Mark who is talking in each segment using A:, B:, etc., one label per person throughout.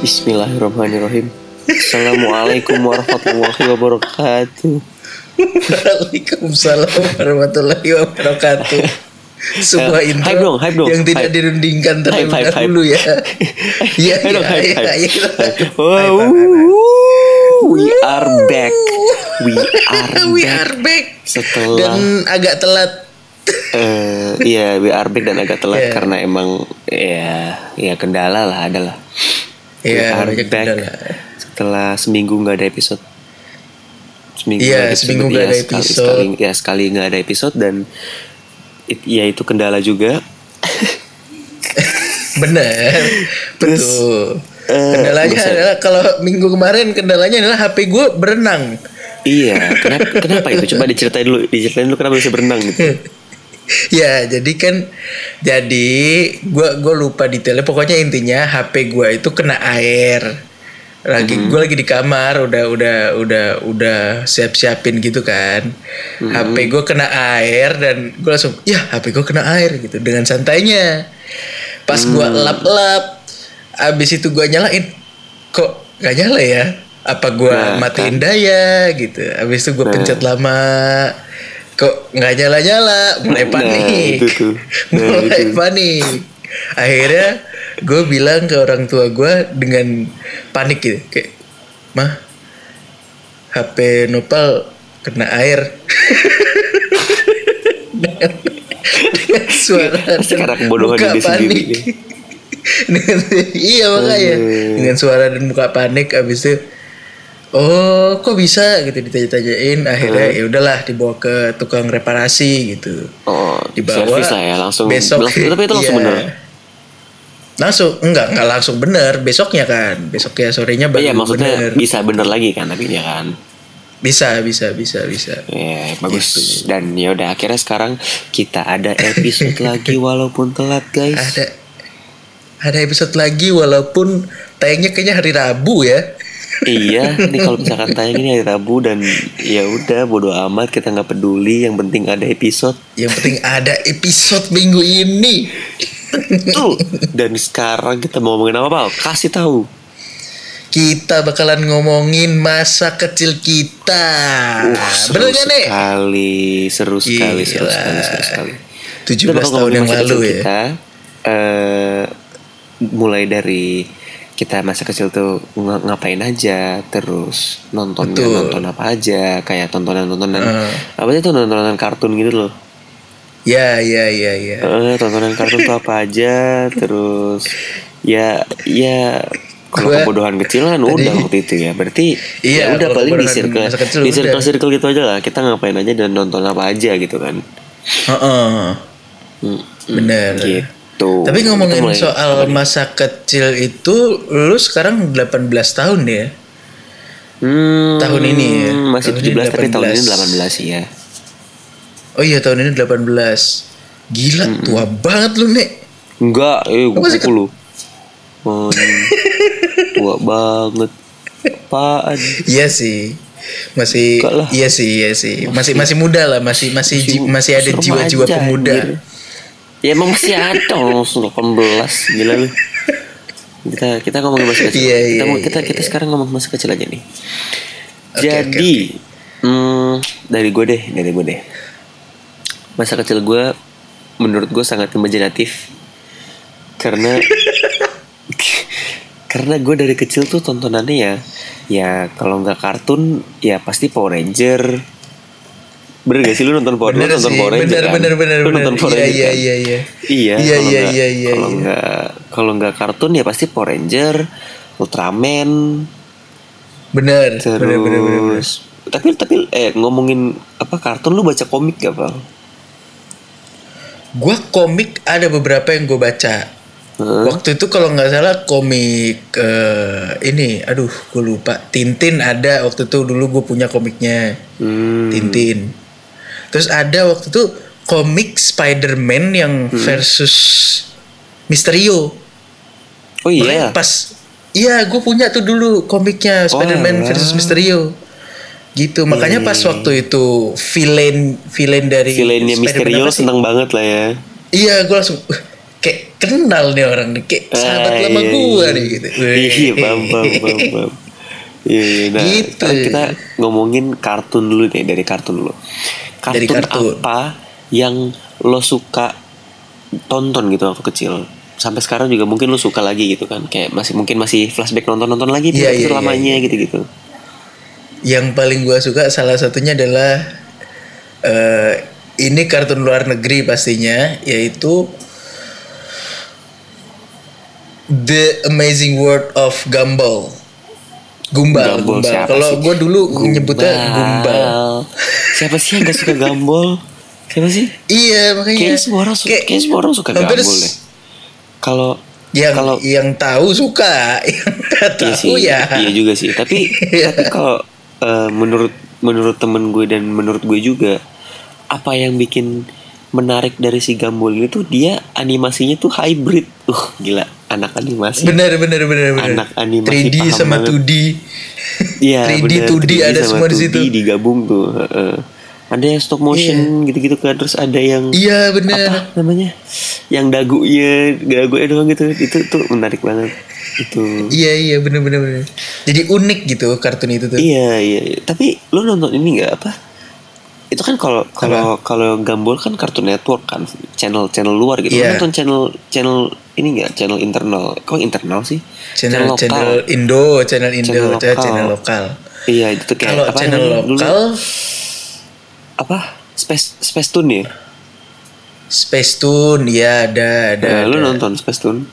A: Bismillahirrahmanirrahim. Assalamualaikum warahmatullahi wabarakatuh.
B: Waalaikumsalam warahmatullahi wabarakatuh. Sebuah
A: Eh,
B: intro
A: hype dong, hype dong,
B: yang tidak
A: hype.
B: dirundingkan terlebih
A: Hype, hype, hype.
B: dahulu ya. Iya,
A: Ayo dong,
B: iya,
A: hype,
B: iya,
A: hype.
B: iya.
A: Hype.
B: Hype,
A: Wow,
B: hype, hype.
A: We are back. We are
B: We
A: back.
B: are back.
A: Setelah-
B: dan agak telat.
A: Eh, Iya, we are back dan agak telat
B: Iya.
A: karena emang ya ya kendala lah adalah. we
B: Iya,
A: are
B: banyak
A: back.
B: kendala.
A: Setelah seminggu nggak ada episode. Seminggu
B: Iya,
A: nggak ada
B: seminggu nggak
A: Ya,
B: ada
A: sekali-
B: episode.
A: Sekali, ya sekali nggak ada episode dan it- ya itu kendala juga.
B: Benar.
A: Terus,
B: Betul.
A: eh,
B: Kendalanya
A: bisa-
B: adalah kalau minggu kemarin kendalanya adalah HP gue berenang.
A: Iya, kenapa, kenapa itu? Coba diceritain dulu, diceritain dulu kenapa bisa berenang gitu.
B: ya jadi kan jadi gua gua lupa detailnya pokoknya intinya HP gua itu kena air lagi gua lagi di kamar udah udah udah udah siap siapin gitu kan HP gua kena air dan gua langsung ya HP gua kena air gitu dengan santainya pas gua lap lap abis itu gua nyalain kok gak nyala ya apa gua
A: Nah,
B: matiin daya gitu abis itu gua pencet lama kok nggak nyala nyala mulai
A: Nah,
B: panik
A: itu tuh. Nah,
B: mulai
A: itu.
B: panik akhirnya gue bilang ke orang tua gue dengan panik gitu kayak mah HP Nopal kena air dengan, dengan suara
A: Pasti
B: dan
A: karena kebodohan
B: muka
A: dia sendiri, ya. Oh,
B: panik Dengan- iya makanya
A: Aduh.
B: dengan suara dan muka panik abis itu oh kok bisa gitu ditanya-tanyain akhirnya ya udahlah dibawa ke tukang reparasi gitu
A: Oh,
B: dibawa
A: servis lah ya langsung.
B: besok
A: langsung- tapi itu langsung
B: iya.
A: bener.
B: langsung enggak enggak langsung bener besoknya kan besoknya sorenya baru
A: Iya, maksudnya
B: bener.
A: bisa bener lagi kan akhirnya kan.
B: bisa bisa bisa bisa
A: Ya,
B: Gitu.
A: bagus. Dan ya udah akhirnya sekarang kita ada episode lagi walaupun telat, guys.
B: ada ada episode lagi walaupun tayangnya kayaknya hari Rabu ya
A: iya, ini kalau misalkan tayang ini hari Rabu dan ya udah bodo amat kita nggak peduli, yang penting ada episode.
B: yang penting ada episode minggu ini
A: Tuh. Dan sekarang kita mau ngomongin apa, Pal? Kasih tahu.
B: kita bakalan ngomongin masa kecil kita
A: Uh, seru
B: Ah, bener kan, gak nih
A: sekali, seru sekali, seru
B: Gila.
A: sekali, seru sekali.
B: 17
A: Kita bakal
B: tahun
A: ngomongin
B: yang
A: masa
B: lalu
A: kecil
B: ya
A: Kita eh, mulai dari kita masa kecil tuh ng- ngapain aja, terus nonton
B: Betul. Ah.
A: nonton apa aja, kayak tontonan-tontonan
B: Heeh.
A: apa sih tuh nontonan kartun gitu loh.
B: ya ya ya ya
A: Eh, tontonan kartun tuh apa aja, terus ya ya kalau
B: Gua
A: kebodohan kecil kan
B: tadi-
A: udah waktu itu ya. Berarti
B: Iya,
A: ya udah
B: kalau
A: paling di
B: kebodohan
A: circle
B: masa kecil
A: di
B: udah.
A: circle circle gitu aja lah. Kita ngapain aja dan nonton apa aja gitu kan.
B: Heeh.
A: Hmm,
B: bener
A: Gitu.
B: Iya. tapi ngomongin
A: Kita mulai-
B: soal masa kecil itu lu sekarang 18 tahun ya
A: Hmm,
B: Tahun ini ya?
A: Masih
B: Tahun ini
A: 17 tapi tahun ini
B: 18.
A: 18 ya.
B: oh iya tahun ini 18 gila tua banget lu nek
A: Enggak, eh gue
B: masih ke-
A: pukul lu. Oh, tua banget. Apaan?
B: Iya sih. Masih
A: Enggak lah.
B: iya sih, iya sih. Masih masih muda lah, masih masih ji- masih, ada
A: Masih
B: jiwa-jiwa
A: remaja,
B: pemuda.
A: anjir. Ya emang masih ada orang langsung 18 gila lu. Kita kita ngomongin masa kecil.
B: Iya,
A: kita,
B: iya,
A: mau- kita
B: iya,
A: kita sekarang ngomong masa kecil aja nih.
B: Oke,
A: Jadi hmm, dari gue deh, dari gue deh. Masa kecil gue menurut gue sangat imajinatif karena karena gue dari kecil tuh tontonannya ya ya kalau nggak kartun ya pasti Power Ranger bener gak sih lu nonton Power, lu
B: Bener
A: nonton
B: sih,
A: Power Ranger
B: bener
A: kan?
B: bener bener
A: lu
B: bener.
A: nonton Power
B: Iya
A: Ranger
B: iya
A: kan?
B: iya
A: Iya,
B: iya. Iya
A: kalau
B: iya
A: nggak-
B: iya iya.
A: Kalau
B: iya.
A: nggak kalau nggak kartun ya pasti Power Ranger, Ultraman,
B: Bener.
A: terus.
B: Bener bener bener. bener.
A: Tapi tapi eh ngomongin apa kartun lu baca komik gak, Bang?
B: Gua komik ada beberapa yang gue baca.
A: Heeh.
B: Waktu itu kalau nggak salah komik eh, ini, aduh, gue lupa. Tintin ada waktu itu dulu gue punya komiknya.
A: Hmm.
B: Tintin. Terus ada waktu itu komik Spider-Man yang
A: Hmm.
B: versus Misterio.
A: Oh iya.
B: Makanya Pas iya, gue punya tuh dulu komiknya Spider-Man
A: alah.
B: versus Misterio. Gitu.
A: Iya,
B: Makanya pas waktu itu villain villain dari
A: Villainnya
B: Spider-Man
A: Misterio
B: apa sih?
A: seneng banget lah ya.
B: Iya, gue langsung "Uh, kayak kenal nih orang nih kayak sahabat
A: Ah,
B: lama
A: iya,
B: gua
A: iya.
B: nih gitu
A: Iya, paham, paham, paham, paham. Iya, iya. Nah,
B: Gitu.
A: sekarang kita ngomongin kartun dulu deh, dari kartun dulu. Kartun,
B: Dari kartun.
A: apa yang lo suka tonton gitu waktu kecil? Sampai sekarang juga mungkin lo suka lagi gitu kan? Kayak masih mungkin masih flashback nonton-nonton lagi tuh
B: Iya, iya, iya,
A: lamanya gitu-gitu.
B: yang paling gua suka salah satunya adalah eh ini kartun luar negeri pastinya yaitu The Amazing World of Gumball Gumball,
A: Gumball
B: Gumball.
A: siapa
B: Kalau
A: sih?
B: gua dulu nyebutnya Gumball.
A: Siapa sih yang gak suka gambol? Siapa sih?
B: Iya makanya.
A: Kayaknya semua orang suka,
B: Kayak-
A: kayaknya semua orang suka
B: hampir
A: gambol
B: s-
A: deh. Kalau
B: Yang
A: kalau
B: yang tahu suka, yang nggak
A: Iya sih,
B: tahu ya.
A: iya juga sih. Tapi tapi kalau eh, menurut menurut temen gue dan menurut gue juga apa yang bikin menarik dari si Gumball ini tuh dia animasinya tuh hybrid. Uh, gila, anak animasi.
B: Bener bener bener bener.
A: Anak animasi
B: 3D
A: paham
B: sama
A: banget.
B: 2D.
A: Iya,
B: 3D,
A: bener,
B: 2D ada
A: sama
B: semua di situ.
A: digabung tuh. heeh. ada yang stop motion gitu-gitu kan, terus ada yang
B: Iya bener.
A: apa namanya? Yang dagunya, dagunya doang gitu. Itu tuh menarik banget. Itu.
B: Iya iya bener bener bener. Jadi unik gitu kartun itu tuh.
A: Iya iya. iya. Tapi lu nonton ini nggak apa? Itu kan kalau kalau kalau Gumball kan Cartoon Network kan channel channel luar gitu. Lu
B: Iya.
A: nonton channel channel ini nggak channel internal? Kok internal sih?
B: Channel channel Indo, channel Indo,
A: Channel
B: channel
A: lokal.
B: lokal. Channel lokal.
A: Iya itu kayak
B: Kalau channel
A: namanya dulu?
B: lokal,
A: apa? Space Space Tune ya?
B: Space Tune ya ada ada.
A: Nah, lu
B: ada.
A: nonton Space Tune?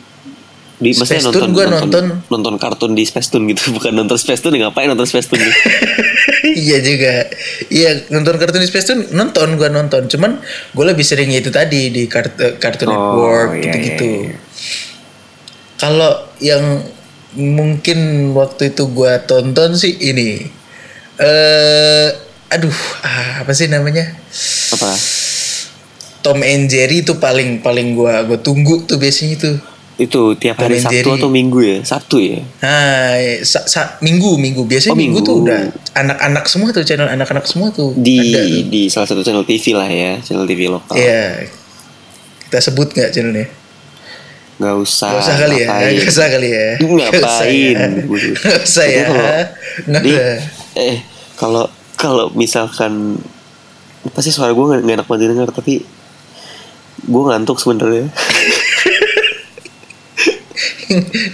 A: Di, maksudnya
B: Space Tune gua
A: nonton,
B: nonton.
A: nonton kartun di Space Tune gitu bukan nonton Space Tune ngapain nonton Space Tune
B: Iya juga. Iya nonton kartun di Space Tune nonton gua nonton. Cuman gue lebih sering itu tadi di kart Cartoon
A: Oh,
B: Network
A: iya,
B: gitu-gitu.
A: iya, iya.
B: Kalau yang mungkin waktu itu gua tonton sih ini. Eh aduh, ah, apa sih namanya?
A: apa
B: Tom and Jerry itu paling paling gua gua tunggu tuh biasanya itu.
A: itu tiap hari
B: Tom and
A: Sabtu
B: Jerry.
A: atau Minggu ya Sabtu ya
B: Nah, sa- sa- minggu minggu
A: Oh,
B: biasanya minggu. tuh
A: minggu.
B: udah anak-anak semua tuh channel anak-anak semua tuh
A: di
B: ada tuh.
A: di salah satu channel TV lah ya channel TV lokal
B: Iya. Kita sebut nggak channelnya?
A: nggak usah
B: Gak usah kali ya,
A: Nah, ngapain.
B: gak usah kali ya. Nggak usah
A: ngapain
B: ya. Nggak usah ya.
A: Tapi kalau-
B: Nggak
A: Di-
B: usah.
A: eh kalau kalau misalkan pasti suara gue nggak nggak enak banget didengar tapi gue ngantuk sebenarnya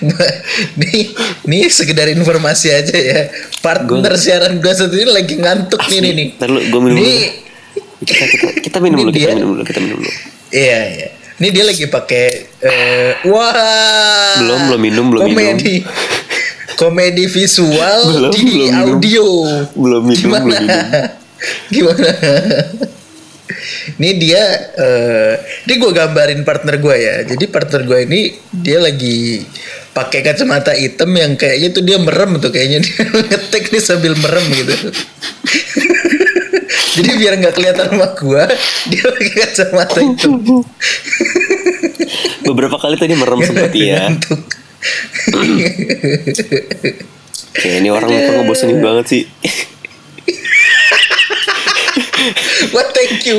B: Gua- nih, nih sekedar informasi aja ya. Partner siaran gua satu ini lagi ngantuk nih nih. nih.
A: Ntar lu, gua minum
B: Nih,
A: kita kita kita minum
B: Ini
A: dulu kita
B: dia.
A: minum dulu kita minum dulu
B: iya iya. Ini dia lagi pakai eh, wah.
A: Belum, belum minum, belum
B: komedi. Komedi visual
A: Belum,
B: di
A: belum minum.
B: audio.
A: belum minum
B: Gimana?
A: belum minum
B: Gimana? Ini dia, eh ini gue gambarin partner gue ya. Jadi partner gue ini dia lagi pakai kacamata hitam yang kayaknya tuh dia merem tuh kayaknya dia ngetik nih sambil merem gitu. Jadi biar nggak kelihatan sama gue, dia pakai kacamata hitam.
A: beberapa kali tadi merem seperti ya
B: Ngantuk.
A: oke ini orang kok ngebosenin banget sih
B: Wah thank you,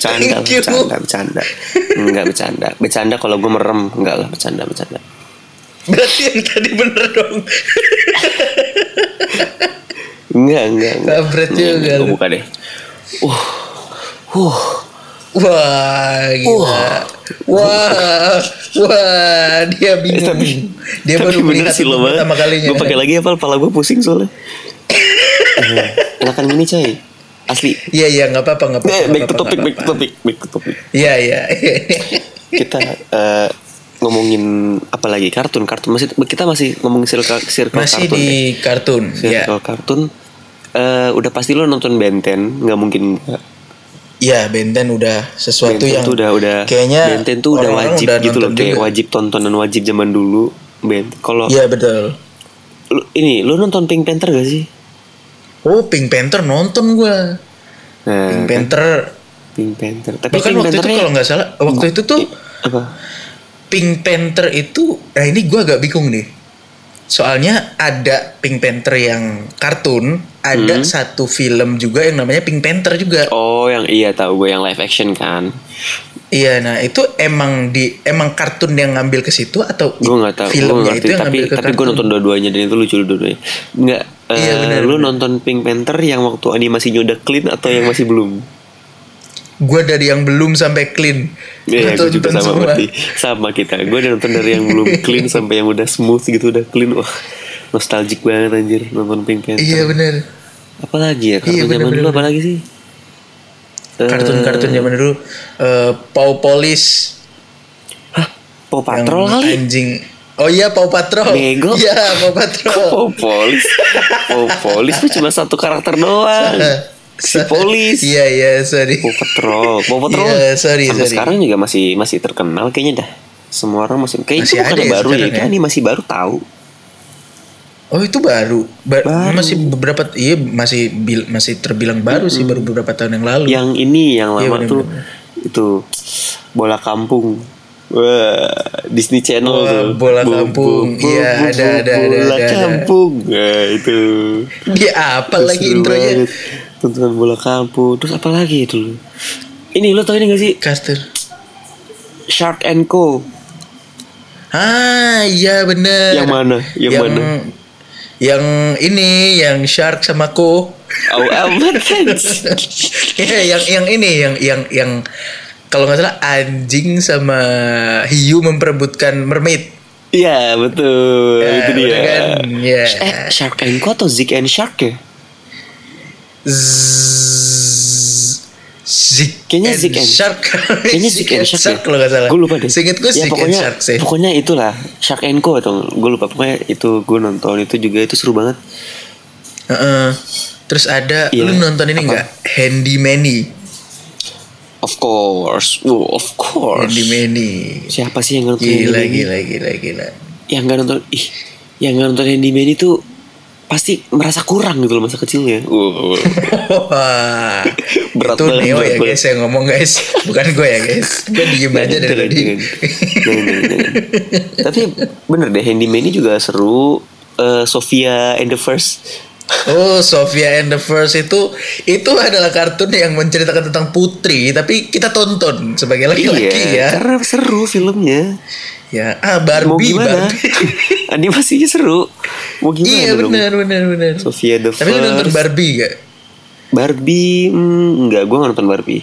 A: Canda,
B: thank you.
A: bercanda, bercanda. Enggak bercanda. Bercanda kalau gue merem, enggak lah bercanda, bercanda.
B: Berarti yang tadi bener dong.
A: Enggak, enggak. enggak.
B: Kampret
A: Nih,
B: juga
A: Gue
B: lu.
A: buka deh. Uh. Uh.
B: Wah, gila. Wah, wah, dia
A: Eh,
B: bingung.
A: tapi
B: dia
A: tapi
B: baru
A: bener
B: melihat
A: sih lo
B: itu
A: banget.
B: pertama kalinya.
A: Gue pakai lagi apa? Kepala gue pusing soalnya. Eh, Enakan gini coy. Asli.
B: Iya, iya, nggak apa-apa, nggak apa-apa.
A: Eh,
B: nggak
A: back to
B: apa-apa,
A: topic,
B: nggak
A: back to
B: apa-apa.
A: topic, back to topic.
B: Iya, iya.
A: Kita eh, ngomongin apa lagi? Kartun, kartun. Masih kita masih ngomongin circle, circle
B: Masih
A: kartun.
B: di
A: deh.
B: kartun, ya.
A: Circle kartun. Eh, udah pasti lo nonton Benten, nggak mungkin enggak.
B: Iya, Benten udah sesuatu
A: Benten
B: yang
A: tuh udah udah
B: kayaknya
A: Benten tuh udah
B: orang-orang
A: wajib
B: udah
A: gitu loh
B: nonton
A: kayak
B: juga.
A: wajib tontonan wajib zaman dulu Benten kalau
B: Iya, betul.
A: lu- ini lu nonton Pink Panther gak sih
B: Oh, Pink Panther nonton
A: Eh.
B: gua.
A: nah
B: Pink Panther.
A: Pink Panther tapi
B: Bahkan
A: Pink
B: waktu itu
A: Panther-nya-
B: kalau nggak salah, waktu itu tuh
A: apa
B: Pink Panther itu, nah ini gue agak bingung nih. Soalnya ada Pink Panther yang kartun, ada
A: Hmm.
B: satu film juga yang namanya Pink Panther juga.
A: oh yang iya tahu gue yang live action kan
B: Iya, nah itu emang di emang kartun yang ngambil ke situ atau
A: gue nggak tahu gue
B: filmnya
A: nggak
B: itu
A: ngerti
B: yang
A: tapi
B: ngambil ke
A: tapi gue
B: kartun?
A: nonton dua-duanya dan itu lucu dua-duanya nggak eh,
B: Iya, benar,
A: lu nonton Pink Panther yang waktu animasinya udah clean atau yang masih belum
B: Gue dari yang belum sampai clean.
A: Iya,
B: Gua
A: gue juga
B: tonton
A: sama
B: semua.
A: berarti sama kita. Gue udah nonton dari yang belum clean sampai yang udah smooth gitu udah clean. Wah, nostalgic banget anjir nonton Pink Panther.
B: Iya benar.
A: Apalagi ya kartun
B: Iya, bener,
A: zaman
B: bener,
A: dulu apalagi sih?
B: Kartun-kartun zaman dulu eh Paw Police
A: Hah, Paw
B: yang
A: Patrol kali?
B: anjing. Oh iya Paw Patrol.
A: Bego.
B: Iya Paw Patrol.
A: Paw Polis. Paw Polis tuh cuma satu karakter doang. Si Polis.
B: Iya iya sorry.
A: Paw Patrol. Paw Patrol.
B: Iya, sorry,
A: sampai
B: sorry.
A: sekarang juga masih masih terkenal kayaknya dah. Semua orang masih kayak itu
B: Masih
A: bukan
B: ada
A: baru ya,
B: ya sekarang
A: Itu
B: ya? Iya.
A: animasi baru tahu.
B: Oh itu baru. Ba-
A: Baru.
B: Masih beberapa iya masih bil- masih terbilang baru sih baru beberapa tahun yang lalu.
A: yang ini yang lama
B: Iya, bener-bener.
A: tuh itu bola kampung Wah, Disney Channel
B: Wah,
A: tuh.
B: bola kampung. Iya, ada, ada, ada,
A: bola
B: ada, ada.
A: kampung Nah, itu
B: Dia Ya, apa
A: Terus
B: lagi
A: seru
B: intronya?
A: banget. tuntutan bola kampung terus apa lagi itu ini lo tau ini gak sih
B: Caster.
A: Shark and Co
B: Ah iya bener.
A: Yang mana? Yang mana?
B: Yang ini yang shark sama ko.
A: oh amat
B: Iya, yang yang ini yang yang yang kalau nggak salah anjing sama hiu memperebutkan mermaid.
A: Iya betul
B: Ya,
A: itu dia
B: bener kan? Iya.
A: eh Shark and Co atau Zig and Shark ya
B: Zzz, Zik
A: Kayaknya
B: and
A: Zik and-
B: Shark.
A: Kayaknya Shark and Shark, ya?
B: kalau nggak salah.
A: Gue lupa deh. Ya,
B: Seinget gue Zik and
A: pokoknya,
B: Shark sih.
A: Pokoknya itulah Shark and Co atau gue lupa pokoknya itu gue nonton itu juga itu seru banget.
B: Heeh. Terus ada
A: Iya.
B: lu nonton ini
A: Apa?
B: nggak? Handy Manny.
A: Of course, oh, of course.
B: Handy Manny.
A: Siapa sih yang nggak nonton
B: Gila
A: Handyman?
B: gila gila gila.
A: Yang nggak nonton ih yang nggak nonton Handyman itu pasti merasa kurang gitu loh masa kecilnya. Uh,
B: Wah,
A: Berat
B: itu
A: banget,
B: Neo
A: berat
B: ya
A: banget.
B: guys yang ngomong guys, bukan gue ya guys. Gue diem aja dari tadi.
A: Tapi bener deh Handyman ini juga seru. Eh, Sofia and the First
B: Oh, Sofia and the First itu itu adalah kartun yang menceritakan tentang putri, tapi kita tonton sebagai laki-laki
A: iya,
B: ya.
A: karena seru filmnya.
B: Ya, ah
A: Mau
B: Barbie,
A: gimana?
B: Barbie.
A: Animasinya seru. Mau gimana
B: iya
A: dong?
B: benar benar benar.
A: Sofia the
B: Tapi lu nonton
A: First.
B: Barbie gak?
A: Barbie, hmm, enggak, gue gak nonton Barbie.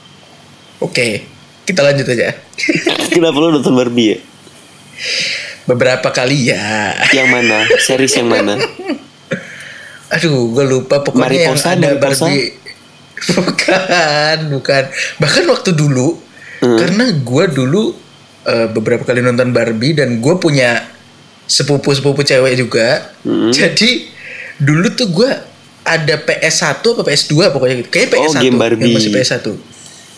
B: Oke, kita lanjut aja.
A: Kenapa lo nonton Barbie ya?
B: Beberapa kali ya.
A: Yang mana? Series yang mana?
B: Aduh, gue lupa pokoknya
A: Mariposa,
B: yang ada
A: Mariposa?
B: Barbie. Bukan, bukan. Bahkan waktu dulu,
A: Hmm.
B: karena gue dulu eh, beberapa kali nonton Barbie dan gue punya sepupu-sepupu cewek juga.
A: Hmm.
B: Jadi dulu tuh gue ada PS1 apa PS2 pokoknya gitu. Kayaknya
A: Oh,
B: PS1.
A: game
B: yang
A: Barbie.
B: masih PS1.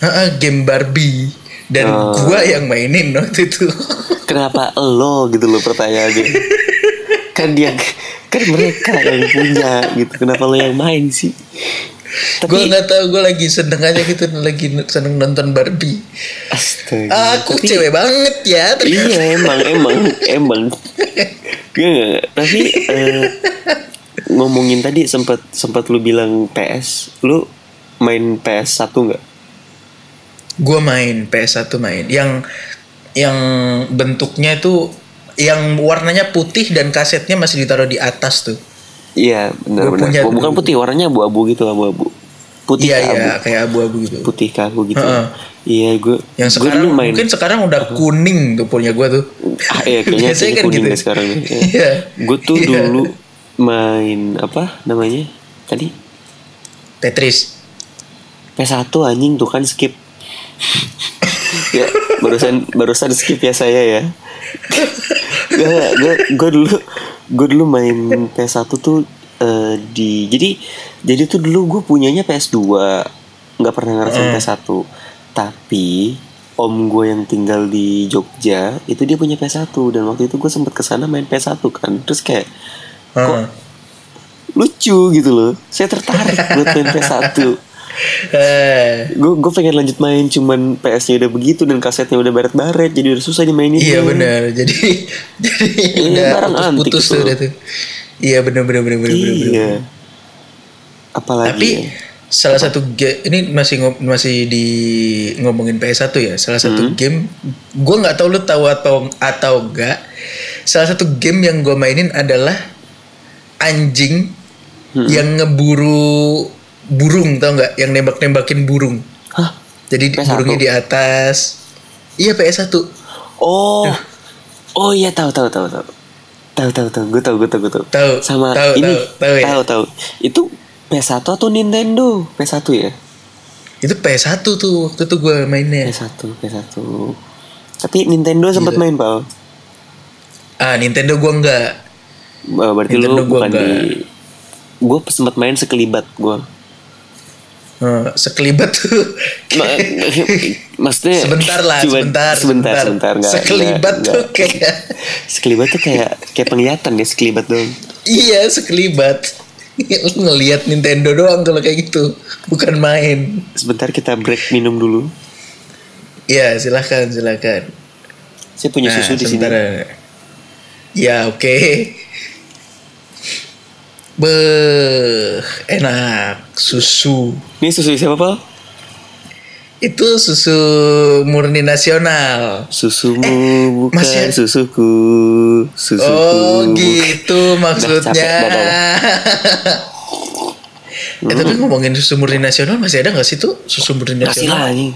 B: Heeh, game Barbie. Dan
A: Oh.
B: gua gue yang mainin waktu itu.
A: Kenapa lo gitu lo pertanyaannya? kan dia, kan mereka yang punya gitu. Kenapa lo yang main sih?
B: gue
A: Tapi
B: nggak tahu gue lagi seneng aja gitu lagi seneng nonton Barbie.
A: astaga.
B: Aku
A: tapi-
B: cewek banget ya. ternyata.
A: iya emang emang emang Iya nggak? tapi eh, ngomongin tadi sempat sempat lu bilang PS lu main PS 1 nggak
B: Gua main PS1 main yang yang bentuknya itu yang warnanya putih dan kasetnya masih ditaruh di atas tuh.
A: iya benar
B: Gua
A: benar
B: punya
A: Bu- bukan
B: dulu.
A: putih warnanya abu-abu gitu abu-abu putih
B: Iya
A: ke
B: iya
A: abu
B: kayak abu-abu gitu.
A: putih ke abu gitu
B: Heeh.
A: iya gue
B: Yang
A: gue
B: sekarang
A: dulu main
B: mungkin sekarang udah kuning tuh punya gua tuh.
A: ah iya kayaknya
B: Biasanya
A: kayaknya
B: kan
A: kuning
B: gitu.
A: deh sekarang ya.
B: Iya.
A: gue tuh
B: Iya.
A: dulu main apa namanya tadi
B: Tetris.
A: P1 anjing tuh kan skip. ya, barusan barusan skip ya saya ya. gue gue dulu gue dulu main PS1 tuh eh, di jadi jadi tuh dulu gue punyanya PS2 nggak pernah ngerasain PS1 tapi om gue yang tinggal di Jogja itu dia punya PS1 dan waktu itu gue sempet kesana main PS1 kan terus kayak
B: Heeh.
A: lucu gitu loh saya tertarik buat main PS1
B: Eh,
A: gue gue pengen lanjut main cuman PS-nya udah begitu dan kasetnya udah baret-baret jadi udah susah dimainin
B: iya benar. Jadi jadi
A: Ini
B: udah
A: barang antik
B: putus-putus
A: tuh.
B: tuh udah tuh. Iya benar benar benar benar benar.
A: iya apalagi
B: Tapi
A: ya?
B: salah satu game ini masih ngo- masih di ngomongin PS1 ya salah satu game gue nggak tahu lu tahu atau atau enggak salah satu game yang gue mainin adalah anjing yang ngeburu burung tau nggak yang nembak nembakin burung
A: Hah?
B: jadi di-
A: PS1.
B: burungnya di atas iya PS1
A: Oh. Oh iya tahu tahu tahu tahu. Tahu tahu tahu. Gue tahu gue tahu gue tahu.
B: Tahu,
A: Sama
B: tahu,
A: ini.
B: tahu, tahu ya?
A: tahu. Itu PS1 atau Nintendo? PS1 ya?
B: itu PS1 tuh waktu itu gue mainnya
A: PS1, PS1. Tapi Nintendo sempat main, Pal.
B: ah Nintendo gue nggak
A: Eh, Berarti
B: Nintendo
A: lu
B: gua
A: bukan
B: nggak.
A: di Gue sempat main sekelibat gue
B: eh, sekelibat tuh
A: eh, Maksudnya
B: sebentar lah
A: cuma-
B: sebentar
A: Sebentar sebentar nggak-
B: sekelibat
A: nggak-
B: tuh
A: nggak.
B: kayak
A: Sekelibat tuh kayak Kayak penglihatan ya sekelibat dong
B: iya sekelibat lu ngelihat Nintendo doang kalau kayak gitu bukan main
A: Sebentar kita break minum dulu
B: ya silahkan silahkan
A: Saya punya
B: Nah,
A: susu di sini
B: sementara. Ya oke. Beuh, enak susu.
A: Ini susu siapa, Pal?
B: Itu susu murni nasional.
A: Susumu bukan
B: masih-
A: susuku Susuku
B: Eh, ya. Oh
A: bukan-
B: gitu
A: Nah, capek
B: maksudnya.
A: badan.
B: eh, tapi
A: Hmm.
B: ngomongin susu murni nasional masih ada nggak sih tuh susu murni
A: Kasih
B: nasional?
A: lah anjing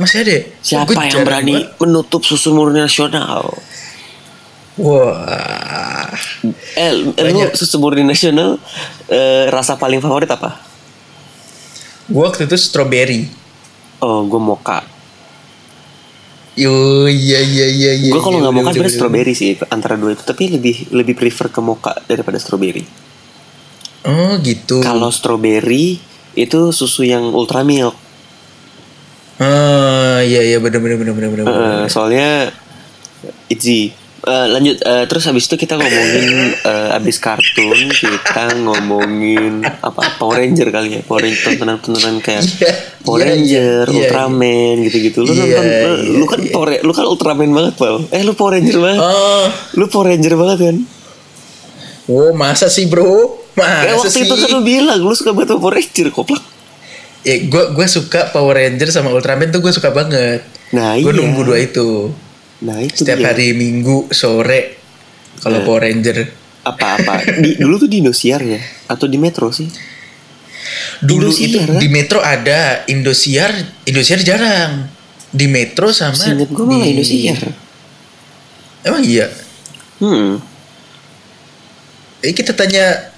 B: Masih ada. ya?
A: Siapa
B: Gua
A: yang
B: jarang
A: berani
B: banget.
A: menutup susu murni nasional?
B: Wah.
A: Eh, lu susu murni nasional eh, rasa paling favorit apa?
B: Gua waktu itu strawberry.
A: Oh, gue moka.
B: Yo, iya iya iya iya.
A: gue kalau
B: iya,
A: nggak moka
B: udah, udah,
A: sebenarnya
B: udah.
A: strawberry sih antara dua itu, tapi lebih lebih prefer ke moka daripada strawberry.
B: Oh gitu.
A: Kalau strawberry itu susu yang ultra milk.
B: Ah, iya iya benar benar benar benar benar.
A: Eh, soalnya itzy. Eh, lanjut eh, terus habis itu kita ngomongin eh, habis kartun kita ngomongin apa Power Ranger kali ya Power Ranger tontonan tontonan kayak
B: Iya,
A: Power
B: iya,
A: Ranger,
B: iya, iya.
A: Ultraman gitu-gitu lu
B: Iya,
A: nonton lu,
B: iya,
A: lu kan Power, lu kan Ultraman banget pal eh lu Power Ranger banget
B: Oh,
A: lu Power Ranger banget kan
B: wow masa sih bro?
A: Eh
B: Masa
A: waktu
B: sih?
A: itu kan lu bilang lu suka banget sama Power Ranger koplak.
B: Ya, gua gua suka Power Ranger sama Ultraman tuh gua suka banget.
A: Nah,
B: Gua
A: iya.
B: nunggu dua itu
A: Nah itu
B: setiap
A: dia.
B: hari Minggu sore kalau Power Ranger.
A: Apa-apa. Di- dulu tuh di Indosiar ya atau di Metro sih.
B: Dulu
A: Indosiar,
B: itu
A: kan?
B: di Metro ada, Indosiar, Indosiar jarang. Di Metro sama
A: Seingat gue malah
B: di-
A: Indosiar.
B: Emang iya.
A: Hmm.
B: Eh kita tanya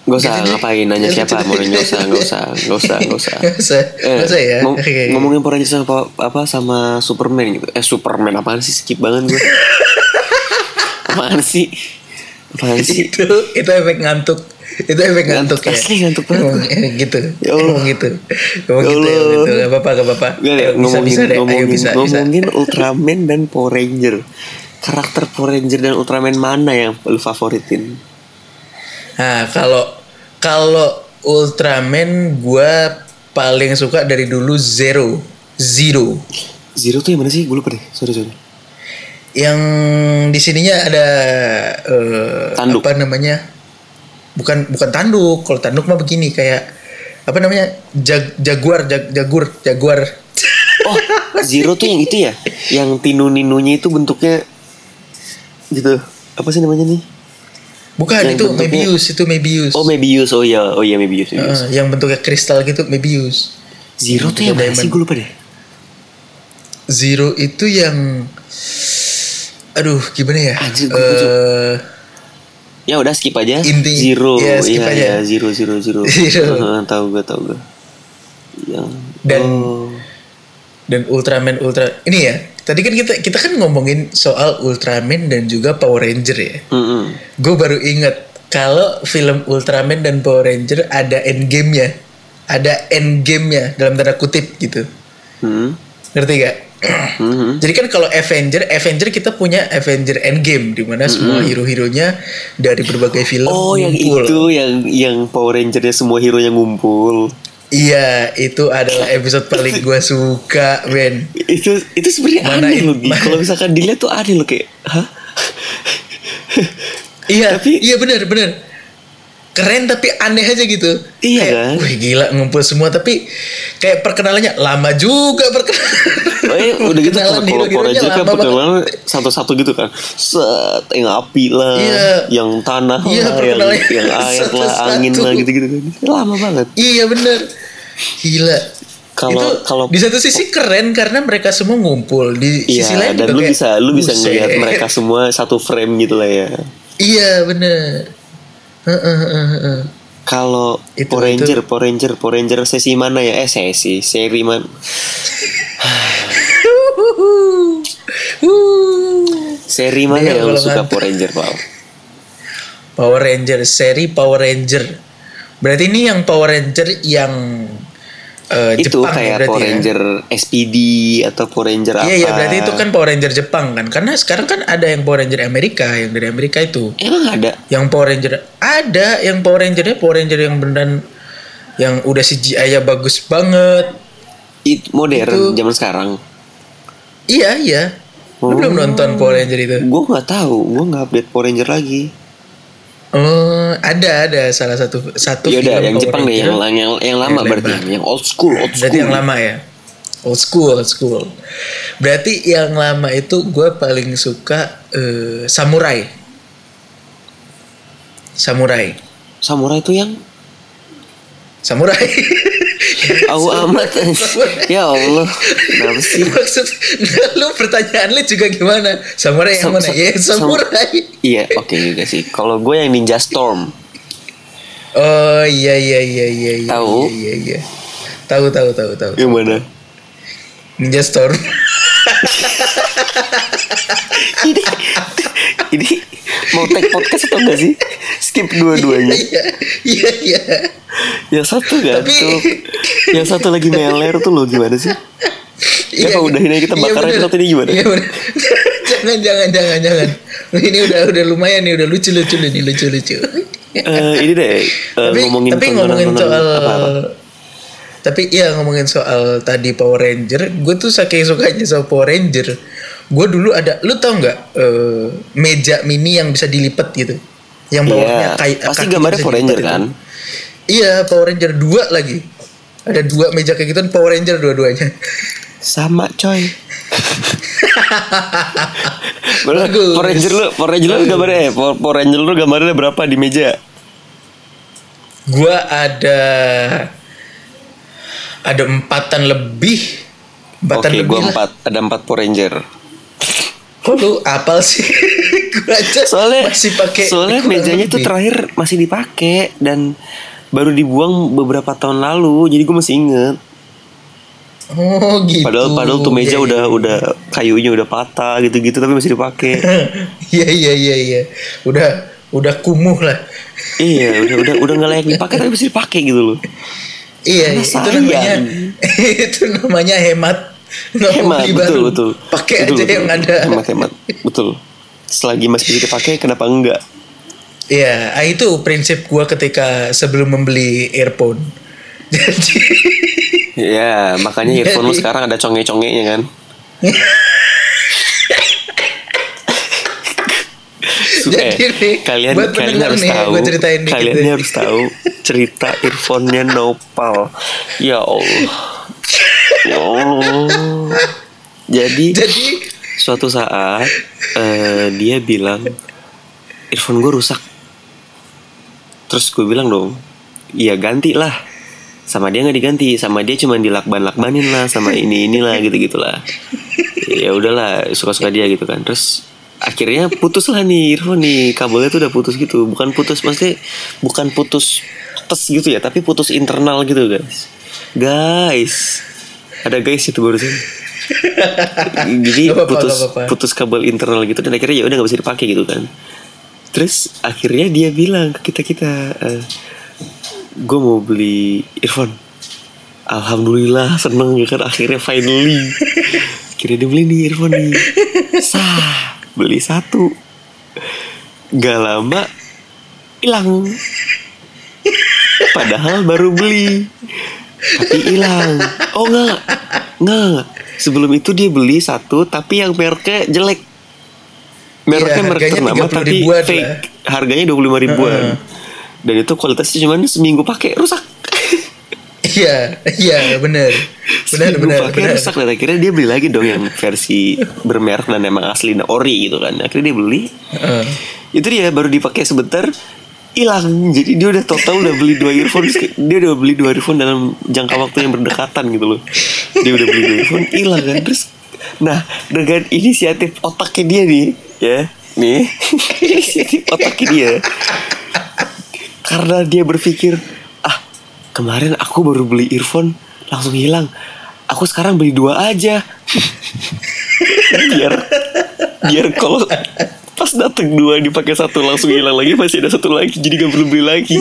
A: Gak usah
B: Gitu deh.
A: ngapain nanya
B: Gitu
A: siapa
B: deh.
A: mau nanya, gak usah gak usah gak usah gak usah.
B: Nggak usah, nggak usah ya.
A: ngom-
B: Oke.
A: Ngomongin Power Ranger sama apa- apa sama Superman gitu. Eh Superman apaan sih skip banget gue. apaan sih? Apaan sih?
B: itu itu efek ngantuk itu efek ngantuk ya
A: Asli ngantuk banget
B: Emang, eh, gitu
A: Ya Allah.
B: Emang gitu Emang
A: Ya
B: gitu ya
A: Allah.
B: gitu gak apa-apa gak apa-apa
A: Gak deh,
B: Ayo, bisa
A: ngomongin,
B: bisa deh ayo
A: ngomongin,
B: bisa bisa
A: ngomongin Ultraman dan Power Ranger. Karakter Power Ranger dan Ultraman mana yang lu favoritin?
B: nah kalau kalau Ultraman gua paling suka dari dulu Zero Zero
A: Zero tuh yang mana sih? Gue lupa deh. Sorry, sorry.
B: yang di sininya ada eh,
A: Tanduk.
B: apa namanya bukan bukan tanduk kalau tanduk mah begini kayak apa namanya Jag- jaguar jag- jagur jaguar
A: Oh, Zero tuh yang itu ya? Yang tinu-ninunya itu bentuknya gitu. Apa sih namanya nih?
B: bukan
A: Yang
B: itu
A: bentuknya-
B: Mebius itu Mebius
A: Oh, Mebius. Oh iya, oh iya Mebius. Mebius.
B: Heeh, yang bentuknya kristal gitu Mebius.
A: Zero tuh yang mana sih? Gue lupa deh.
B: Zero itu yang aduh gimana ya?
A: Anjir, gua- gua
B: Eh
A: Ya udah skip aja.
B: Inti-
A: Zero.
B: ya, skip
A: Iya,
B: aja.
A: iya, Zero, zero, zero.
B: Zero.
A: Heeh, tahu gue, tahu gue. Yang
B: Dan-
A: oh.
B: dan Ultraman Ultra ini ya. Tadi kan kita kita kan ngomongin soal Ultraman dan juga Power Ranger ya.
A: Mm-mm.
B: Gue baru inget kalau film Ultraman dan Power Ranger ada endgame-nya. Ada endgame-nya dalam tanda kutip gitu.
A: Hmm.
B: Ngerti gak?
A: Mhm.
B: Jadi kan kalau Avenger, Avenger kita punya Avenger Endgame di mana semua hero-heronya dari berbagai film
A: Oh, yang
B: ngumpul.
A: itu yang yang Power Ranger-nya semua hero yang ngumpul.
B: Iya, itu adalah episode paling gue suka, Ben.
A: Itu itu sebenarnya
B: Mana
A: aneh
B: in-
A: loh, Gi.
B: mana-
A: Kalau misalkan dilihat tuh aneh loh kayak, hah?
B: Iya,
A: Tapi-
B: iya benar benar. keren tapi aneh aja gitu.
A: Iya
B: Kayak,
A: kan?
B: Wih gila ngumpul semua tapi kayak perkenalannya lama juga perkenalan.
A: Eh, udah gitu
B: Perkenalan
A: kalau
B: hero-hero-nya
A: kalau aja kan
B: lama banget.
A: perkenalan satu-satu gitu kan. Set yang api lah,
B: Iya.
A: yang tanah
B: Iya,
A: lah, yang,
B: perkenalannya
A: yang air lah,
B: satu-satu.
A: angin lah gitu-gitu kan. Lama banget.
B: Iya bener. Gila.
A: Kalau-
B: Itu
A: kalau-
B: di satu sisi keren karena mereka semua ngumpul di sisi
A: Iya,
B: lain
A: dan
B: juga
A: lu
B: kayak,
A: bisa lu bisa
B: "Buset."
A: ngelihat mereka semua satu frame gitu lah ya.
B: Iya bener. Heeh, heeh, heeh.
A: Kalau
B: Itu-
A: Power Ranger, Power Ranger, Power Ranger sesi mana ya? Eh sesi, seri mana?
B: Wuhu. Wuhu.
A: Seri mana
B: Dengar
A: yang lu
B: Iya, kalau
A: suka
B: ngantuk.
A: Power Ranger, Pak?
B: Power Ranger seri Power Ranger. Berarti ini yang Power Ranger yang eh,
A: Itu
B: Jepang ya
A: kayak
B: berarti
A: Power
B: ya?
A: Ranger SPD atau Power Ranger apa?
B: Iya iya berarti itu kan Power Ranger Jepang kan karena sekarang kan ada yang Power Ranger Amerika yang dari Amerika itu.
A: Emang ada?
B: Yang Power Ranger ada yang Power Rangernya Power Ranger yang beneran yang udah CGI nya bagus banget.
A: It modern
B: Itu-
A: zaman sekarang.
B: Iya iya.
A: Oh.
B: Lu belum nonton Power Ranger itu?
A: Gue nggak tahu, gue nggak update Power Ranger lagi.
B: Oh, ada ada salah satu satu
A: Ya udah,
B: film
A: yang
B: Power
A: Jepang deh,
B: Ranger.
A: yang yang yang, lama
B: Yang
A: berarti, yang old school, old school.
B: Berarti yang lama ya? Old school, old school. Berarti yang lama itu gue paling suka eh, samurai. Samurai.
A: Samurai itu yang
B: Samurai.
A: Aku amat Ya Allah Kenapa sih
B: Maksud nggak, lu pertanyaan lu juga gimana? Samurai
A: Sam-
B: yang mana?
A: sam-
B: Ya,
A: sam-
B: samurai.
A: Iya oke juga sih Kalau gue yang Ninja Storm
B: Oh iya iya iya iya iya.
A: Tahu? Iya.
B: Iya iya. iya. Tahu tahu tahu tahu.
A: Yang mana?
B: Ninja Storm.
A: Ini Ini Mau take podcast atau enggak sih? Skip dua-duanya
B: Iya iya iya.
A: Yang satu
B: Tapi-
A: gantuk Yang satu lagi meler tuh lo gimana sih? Ya,
B: Iya,
A: kalau udahin aja kita
B: iya,
A: bakar
B: bener.
A: episode ini gimana?
B: Iya, bener. jangan jangan jangan jangan. Ini udah udah lumayan nih udah lucu lucu nih lucu lucu.
A: Eh, Ini deh eh,
B: tapi
A: Ngomongin
B: tapi
A: tontonan-tontonan
B: ngomongin soal
A: apa-apa.
B: tapi iya ngomongin soal tadi Power Ranger, gue tuh saking sukanya sama Power Ranger. Gue dulu ada, lu tau nggak eh, meja mini yang bisa dilipat gitu, yang
A: Iya
B: bawahnya kayak
A: Pasti gambarnya Power Ranger kan?
B: Iya Power Ranger dua lagi, ada dua meja kayak gitu Power Ranger dua-duanya.
A: Sama coy Bener,
B: Bagus.
A: Power Ranger lu, Power Ranger lu gambarnya, eh, Power, Power Ranger lu gambarnya berapa di meja?
B: Gua ada ada empatan lebih. Empatan
A: Oke,
B: lebih.
A: gua
B: lah.
A: empat, ada empat Power Ranger.
B: Kok lu apal sih? gua aja
A: Soalnya,
B: masih pakai
A: soalnya
B: kurang
A: mejanya tuh
B: lebih.
A: terakhir masih dipakai dan baru dibuang beberapa tahun lalu, jadi gue masih inget.
B: Oh gitu.
A: Padahal, padahal tuh meja
B: Iya,
A: udah, udah kayunya udah patah gitu-gitu, tapi masih dipakai.
B: Iya iya iya iya. Udah udah kumuh lah.
A: iya, udah, udah, udah nggak layak dipakai, tapi masih dipakai gitu loh. Karena
B: Iya, itu
A: sayang.
B: namanya itu namanya hemat. Nggak mau
A: Hemat,
B: beli
A: betul,
B: baru.
A: betul.
B: Oh, Pakai
A: Betul,
B: aja
A: betul.
B: yang ada.
A: Hemat, hemat, betul. Selagi masih bisa dipakai, kenapa enggak?
B: Iya, ah, itu prinsip gua ketika sebelum membeli earphone. Jadi
A: Ya, makanya
B: Iya,
A: earphone lu sekarang ada conge-congenya kan. Su- eh,
B: Jadi nih,
A: kalian kalian
B: buat pendengar
A: harus
B: nih,
A: tahu,
B: gua ceritain dikit
A: kalian
B: deh.
A: ini harus tahu cerita earphone-nya Nopal. Ya Allah. Ya Allah. Jadi
B: jadi
A: suatu saat eh, dia bilang earphone gue rusak terus gue bilang dong iya ganti lah sama dia nggak diganti sama dia cuma dilakban lakbanin lah sama ini inilah gitu gitulah ya udahlah suka suka dia gitu kan terus akhirnya putus lah nih earphone nih kabelnya tuh udah putus gitu bukan putus maksudnya bukan putus tes gitu ya tapi putus internal gitu guys guys ada guys itu barusan jadi
B: Gak apa-apa,
A: putus
B: gak apa-apa.
A: putus kabel internal gitu dan akhirnya ya udah nggak bisa dipakai gitu kan terus akhirnya dia bilang ke kita kita gue mau beli earphone alhamdulillah seneng ya kan akhirnya finally akhirnya dia beli nih earphone nih sah beli satu gak lama hilang padahal baru beli tapi hilang oh enggak enggak enggak. sebelum itu dia beli satu tapi yang mereknya jelek mereknya
B: Iya,
A: merek
B: harganya
A: ternama
B: 30
A: tapi
B: ribuan lah.
A: fake harganya dua puluh lima ribuan dan itu kualitasnya cuman seminggu pakai rusak
B: Iya, iya benar. Benar
A: Seminggu
B: benar
A: pakai
B: benar.
A: rusak dan akhirnya dia beli lagi dong yang versi bermerek dan emang asli nah, ori gitu kan akhirnya dia beli
B: Heeh.
A: itu dia baru dipakai sebentar hilang jadi dia udah total udah beli dua earphone dia udah beli dua earphone dalam jangka waktu yang berdekatan gitu loh dia udah beli dua earphone hilang kan terus nah dengan inisiatif otaknya dia nih ya nih inisiatif otaknya dia karena dia berpikir ah kemarin aku baru beli earphone langsung hilang aku sekarang beli dua aja biar biar kalau pas dateng dua dipakai satu langsung hilang lagi masih ada satu lagi jadi gak perlu beli lagi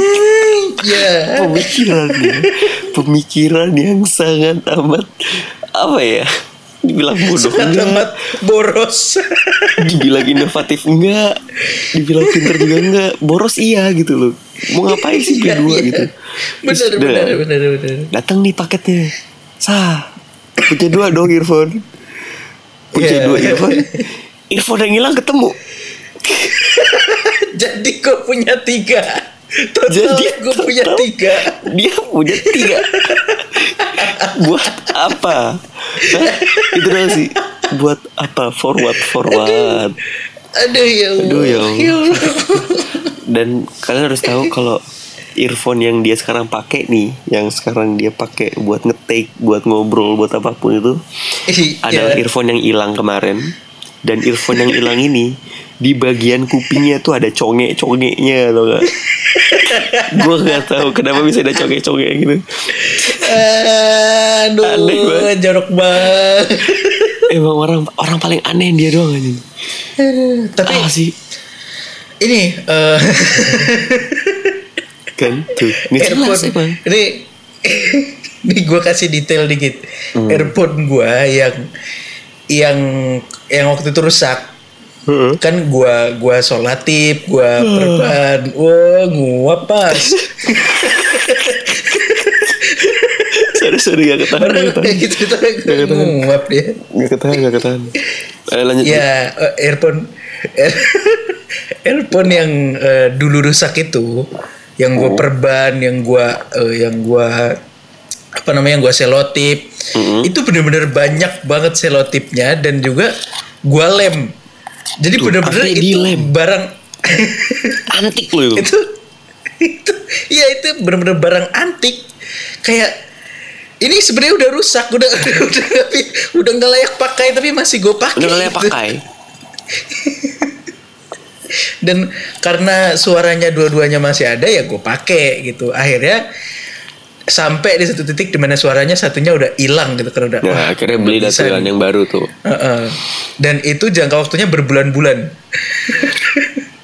B: Iya.
A: pemikirannya pemikiran yang sangat amat apa ya dibilang bodoh
B: Sangat
A: enggak
B: amat boros.
A: dibilang inovatif enggak dibilang pinter juga enggak boros iya gitu loh mau ngapain sih beli dua
B: Iya.
A: gitu Terus
B: Benar
A: udah,
B: benar benar benar.
A: datang nih paketnya sah punya dua dong earphone punya
B: Iya.
A: dua earphone earphone yang hilang ketemu
B: Jadi gue punya tiga. Total
A: Jadi
B: gue punya
A: total-
B: tiga.
A: dia punya tiga buat apa Hah? itu doang sih buat apa forward forward
B: Aduh ya Allah.
A: Aduh, ya Allah.
B: Allah.
A: dan kalian harus tahu kalau earphone yang dia sekarang pakai nih yang sekarang dia pakai buat ngetik buat ngobrol buat apapun itu adalah
B: Iya.
A: earphone yang hilang kemarin dan earphone yang hilang ini di bagian kupingnya tuh ada congek-congeknya atau enggak gue nggak tahu kenapa bisa ada congek-congek gitu Aneh
B: Aduh,
A: banget.
B: jorok banget.
A: emang orang orang paling aneh dia doang aja
B: Tapi
A: ah sih
B: ini eh
A: kan tuh nggak jelas
B: earphone
A: emang
B: ini ini gue kasih detail dikit earphone gue yang yang yang waktu itu rusak
A: Heeh.
B: kan gua gua solatip gua perban wah nguap pas
A: sorry sorry nggak ketahan nggak
B: orang
A: ketahan
B: kayak gitu tapi gua nguap dia
A: nggak ketahan nggak ketahan eh, lanjut
B: ya eh, earphone earphone yang eh, dulu rusak itu yang gua
A: Hmm.
B: perban yang gua eh, yang gua apa namanya yang gua selotip
A: Hmm.
B: itu bener-bener banyak banget selotipnya dan juga gua lem jadi bener-bener
A: artinya
B: itu
A: dilem.
B: barang
A: antik lo itu
B: itu itu ya itu bener-bener barang antik kayak ini sebenarnya udah rusak udah udah udah nggak- udah nggak layak pakai tapi masih gue pakai
A: udah kalian
B: gitu.
A: pakai
B: dan karena suaranya dua-duanya masih ada ya gue pakai gitu akhirnya sampai di satu titik dimana suaranya satunya udah hilang gitu karena udah
A: nah akhirnya beli
B: bisa
A: datulan yang baru tuh
B: Heeh. dan itu jangka waktunya berbulan-bulan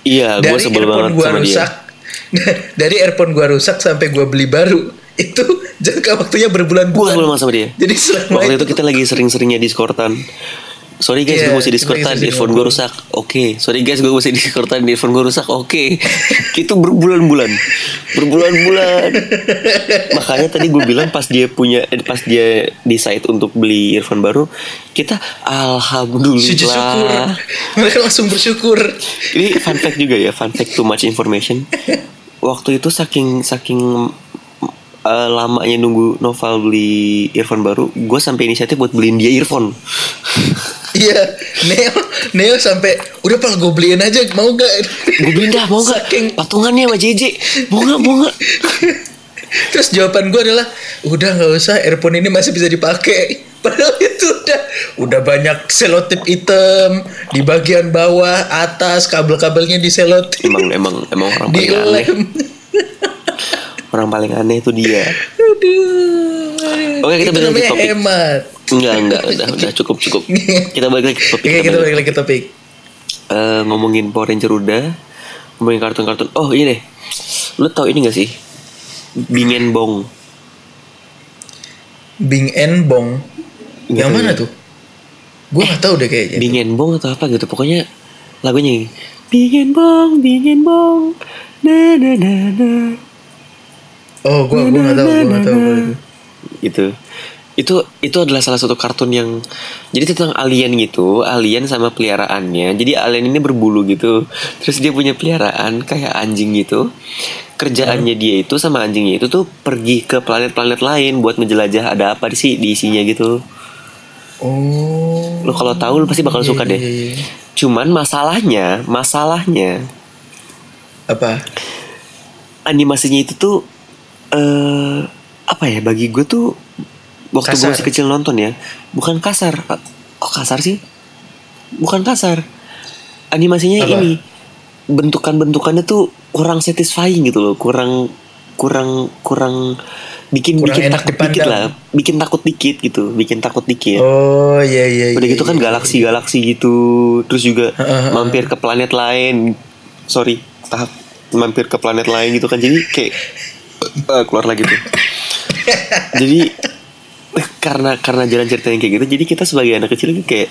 A: iya gue
B: dari
A: sebel banget
B: earphone gue
A: sama dia
B: rusak dari earphone gue rusak sampai gue beli baru itu jangka waktunya
A: gue sebel
B: berbulan-bulan
A: banget sama dia
B: jadi selama
A: Waktu itu kita lagi sering-seringnya diskortan. Sorry guys,
B: Iya,
A: gue masih
B: kita
A: diskortan,
B: lagi sering
A: earphone gue rusak. Oke, sorry guys, gue masih diskortan, earphone gue rusak. Oke, itu berbulan-bulan, berbulan-bulan. Makanya tadi gue bilang pas dia punya, eh, pas dia decide untuk beli earphone baru, kita
B: sujud syukur
A: alhamdulillah.
B: mereka langsung bersyukur
A: Ini fun fact juga ya, fun fact too much information. Waktu itu saking saking eh, lamanya nunggu Noval beli earphone baru, gue sampai inisiatif buat beliin dia earphone.
B: iya Neo Neo sampai udah pal gue beliin aja mau gak
A: gue beliin dah mau nggak
B: Saking-
A: patungannya sama JJ mau nggak mau nggak
B: terus jawaban gue adalah udah nggak usah earphone ini masih bisa dipakai padahal itu udah udah banyak selotip hitam di bagian bawah atas kabel-kabelnya diselotip
A: emang emang emang orang paling aneh
B: dilem
A: orang paling aneh itu dia
B: Aduh.
A: Oke, kita balik
B: Itu
A: lagi
B: namanya
A: ke topik.
B: hemat.
A: enggak enggak udah udah cukup cukup kita balik lagi ke topik
B: Oke,
A: kita
B: Iya, kita
A: balik.
B: balik lagi ke topik.
A: Eh, ngomongin Power Ranger udah ngomongin kartun-kartun oh ini deh lu tau ini gak sih Bingen Bong
B: Bing and Bong.
A: Nggak
B: yang
A: tahu
B: mana
A: ya.
B: tuh? Gue nggak tahu deh kayaknya.
A: Bingen Bong atau apa gitu pokoknya lagunya gini Bingen Bong Bingen Bong na na na na
B: Oh, gue gue nggak tahu, gue nggak tahu.
A: gitu itu itu adalah salah satu kartun yang jadi tentang alien gitu alien sama peliharaannya jadi alien ini berbulu gitu terus dia punya peliharaan kayak anjing gitu kerjaannya dia itu sama anjingnya itu tuh pergi ke planet-planet lain buat menjelajah ada apa sih di isinya gitu
B: Oh.
A: lo kalau tahu lo pasti bakal
B: Iya,
A: suka
B: iya,
A: deh
B: iya.
A: cuman masalahnya masalahnya
B: Apa?
A: animasinya itu tuh eh apa ya bagi gue tuh waktu gue
B: Kasar.
A: masih kecil nonton ya bukan kasar kok kasar sih bukan kasar animasinya
B: Apa?
A: ini bentukan-bentukannya tuh kurang satisfying gitu loh kurang kurang kurang bikin
B: Kurang
A: bikin
B: enak
A: takut dikit
B: dipandang.
A: lah bikin takut dikit gitu bikin takut dikit
B: Oh, iya iya.
A: udah
B: iya,
A: gitu kan
B: iya.
A: galaksi-galaksi gitu terus juga mampir ke planet lain sorry tahap mampir ke planet lain gitu kan jadi kayak eh, keluar lagi tuh jadi karena karena jalan ceritanya kayak gitu jadi kita sebagai anak kecil tuh kayak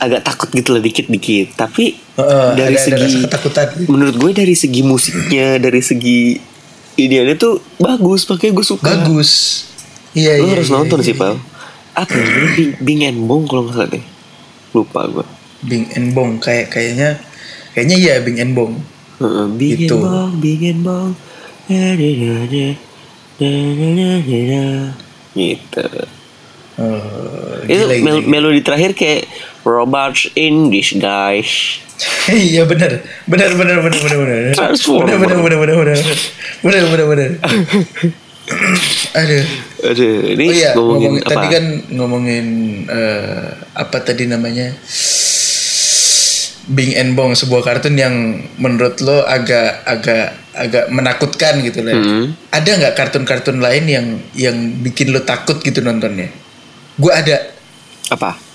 A: agak takut gitu lah dikit-dikit tapi
B: Heeh,
A: dari
B: ada- ada
A: segi
B: rasa ketakutan.
A: menurut gue dari segi musiknya dari segi idealnya tuh bagus makanya gue suka
B: Bagus. Iya
A: lu
B: iya.
A: harus
B: iya,
A: nonton
B: iya.
A: sih pal apa ya? Bing, Bing and Bong kalau nggak salah deh lupa gue
B: Bing and Bong kayak kayaknya kayaknya iya Bing and Bong.
A: Heeh, Bing
B: Gitu.
A: and Bong Bing and Bong Da, da, da, da, da, da, da, da, da. gitu
B: Oh,
A: itu
B: gila,
A: mel-
B: gila.
A: melodi terakhir kayak robots in disguise
B: Iya benar, benar benar benar benar benar.
A: Transformer.
B: Benar benar benar benar benar. Benar benar benar. Aduh.
A: aduh ini
B: Oh iya,
A: ngomongin
B: ngomongin-
A: apa
B: tadi kan ngomongin eh, apa tadi namanya? Bing and Bong sebuah kartun yang menurut lo agak agak agak menakutkan gitu lah.
A: Hmm.
B: Ada nggak kartun-kartun lain yang yang bikin lo takut gitu nontonnya? Gue ada
A: apa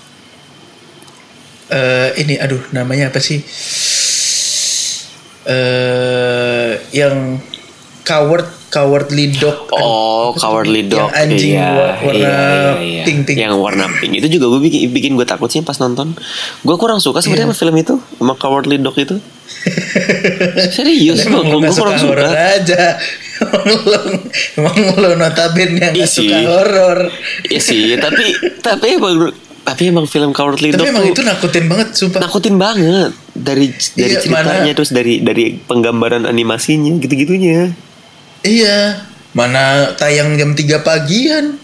B: eh ini aduh namanya apa sih eh yang coward cowardly dog an-
A: Oh, cowardly dog.
B: yang anjing
A: iya,
B: wa- warna pink-pink.
A: Yang warna pink. Itu juga gue bikin, bikin gue takut sih pas nonton. Gue kurang suka
B: Iya.
A: sebenarnya sama film itu, sama cowardly dog itu. Serius, gue
B: Emang lo
A: gue
B: gak Iya, suka
A: kurang
B: horor
A: suka.
B: aja Emang lo, emang lo notabene yang
A: Iya
B: gak suka
A: sih.
B: horor
A: Iya sih, tapi tapi emang tapi emang film cowardly
B: Tapi
A: dog
B: emang
A: tuh Nah.
B: itu nakutin banget sumpah
A: nakutin banget dari dari
B: Iya,
A: ceritanya
B: mana-
A: terus dari dari penggambaran animasinya gitu-gitunya.
B: Iya Mana tayang jam 3 pagian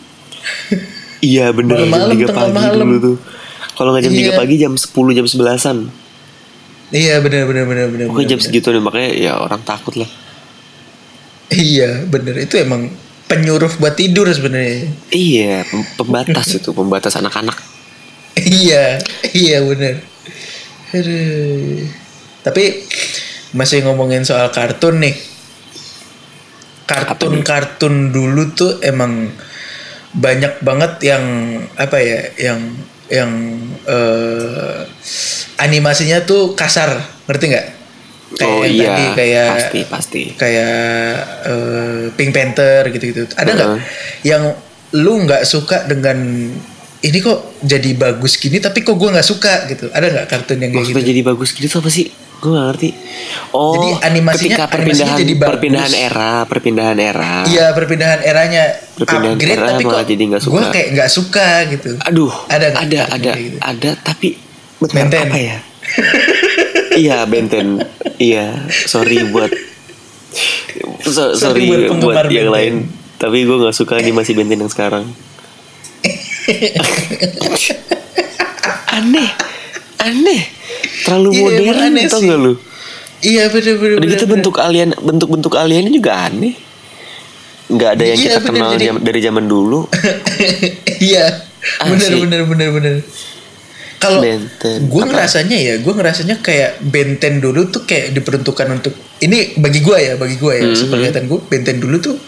A: Iya bener jam 3
B: Malam-malam, tengah
A: pagi
B: malam.
A: dulu tuh. Kalau nggak jam 3
B: Iya.
A: pagi jam 10 jam 11-an.
B: Iya bener bener bener bener,
A: Pokoknya
B: bener,
A: jam segitu nih makanya ya orang takut lah.
B: Iya bener itu emang penyuruh buat tidur sebenarnya
A: Iya, pem- pembatas itu, pembatas anak-anak.
B: iya iya bener Aduh. tapi masih ngomongin soal kartun nih kartun kartun dulu tuh emang banyak banget yang apa ya yang yang eh, animasinya tuh kasar ngerti nggak kayak
A: oh
B: yang
A: iya,
B: tadi kayak
A: pasti pasti.
B: kayak eh, Pink Panther gitu-gitu. Ada nggak
A: Heeh.
B: yang lu nggak suka dengan ini kok jadi bagus gini tapi kok gua nggak suka gitu? Ada nggak kartun yang kayak gitu?
A: Maksudnya jadi bagus gitu tuh apa sih? Gue gak ngerti. Oh,
B: Jadi
A: ketika
B: animasinya- animasinya
A: perpindahan
B: jadi bagus.
A: perpindahan era, perpindahan era.
B: Iya perpindahan eranya
A: Perpindahan
B: upgrade
A: era
B: tapi
A: malah
B: kok
A: jadi nggak suka.
B: gua kayak nggak suka gitu.
A: Aduh,
B: Ada
A: ada
B: nggak
A: ada
B: kartun
A: ada,
B: kayak gitu?
A: ada tapi bentar,
B: Benten.
A: apa ya? iya, benten. Iya, sorry buat so-
B: Sorry
A: sorry,
B: buat
A: buat,
B: penggemar
A: yang
B: benten.
A: lain. Tapi gue gak suka animasi benten yang sekarang. aneh, aneh, terlalu
B: Iya, emang
A: modern
B: aneh
A: tau
B: sih.
A: gak lu?
B: Iya bener-bener.
A: Udah gitu bentuk alien, bentuk-bentuk aliennya juga aneh. Nggak ada yang
B: Iya,
A: kita
B: bener,
A: kenal
B: jadi-
A: jam- dari zaman dulu.
B: iya
A: Ah,
B: bener
A: sih.
B: bener bener bener kalau
A: Benten.
B: gue
A: Apa?
B: ngerasanya ya gue ngerasanya kayak benten dulu tuh kayak diperuntukkan untuk ini bagi gue ya bagi gue
A: Mm-hmm.
B: ya sepenglihatan gue benten dulu tuh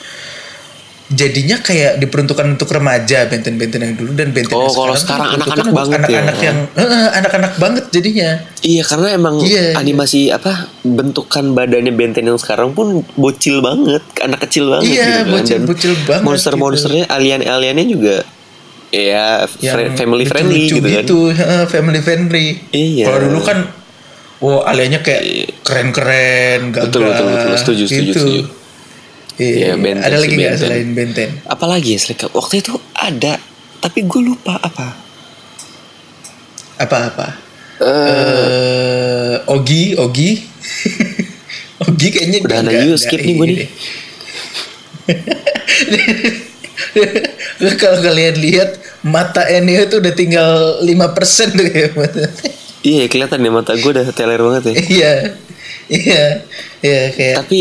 B: jadinya kayak diperuntukkan untuk remaja benten-benten yang dulu dan benten
A: Oh,
B: yang
A: kalau sekarang
B: diperuntukkan
A: anak-anak
B: untuk
A: banget ya.
B: anak-anak yang eh, anak-anak banget jadinya
A: Iya karena emang
B: Iya, iya.
A: animasi apa bentukan badannya Benten yang sekarang pun bocil banget, anak kecil banget.
B: Iya,
A: gitu kan. Dan
B: bocil-bocil banget
A: Monster-monsternya, alien-aliennya juga ya fri- family friendly
B: lucu-lucu
A: gitu kan.
B: heeh, family friendly
A: Iya.
B: kalau dulu kan wow aliennya kayak keren-keren gagah
A: Betul, betul, betul. Setuju, setuju,
B: gitu.
A: setuju.
B: Iya,
A: Iya, Benten
B: ada
A: sih,
B: lagi nggak
A: Benten.
B: selain Benten
A: Apalagi ya Slick? waktu itu ada tapi gue lupa apa
B: apa-apa. Eh, Ogi, Ogi. Ogi kayaknya
A: Udah,
B: dia
A: nah,
B: nggak-
A: yuk,
B: nggak
A: skip nih gua
B: ini
A: nih.
B: deh. Kalau kalian lihat mata Enio itu udah tinggal 5% tuh kayak mata.
A: iya kelihatan ya mata gue udah teler banget ya
B: Iya. Iya. Iya kayak
A: Eh, tapi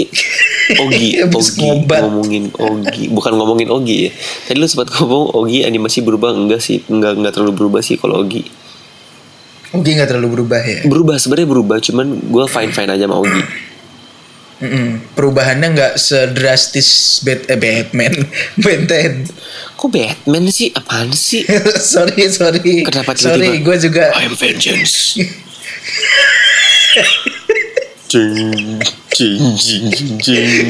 A: Ogi, Ogi
B: Habis ngobat.
A: ngomongin Ogi, bukan ngomongin Ogi ya. Tadi lu sempat ngomong Ogi animasi berubah enggak sih? Enggak enggak terlalu berubah sih kalau Ogi.
B: Ogi nggak terlalu berubah ya.
A: Berubah sebenarnya berubah, cuman gue fine fine aja sama Ogi.
B: Mm-mm. Perubahannya nggak sedrastis Bat eh, Batman, Batman.
A: Kok Batman sih? Apaan sih?
B: sorry, sorry.
A: Kenapa
B: sorry,
A: tiba-tiba?
B: gue juga.
A: I'm vengeance. jing, jing, jing, jing, jing, jing,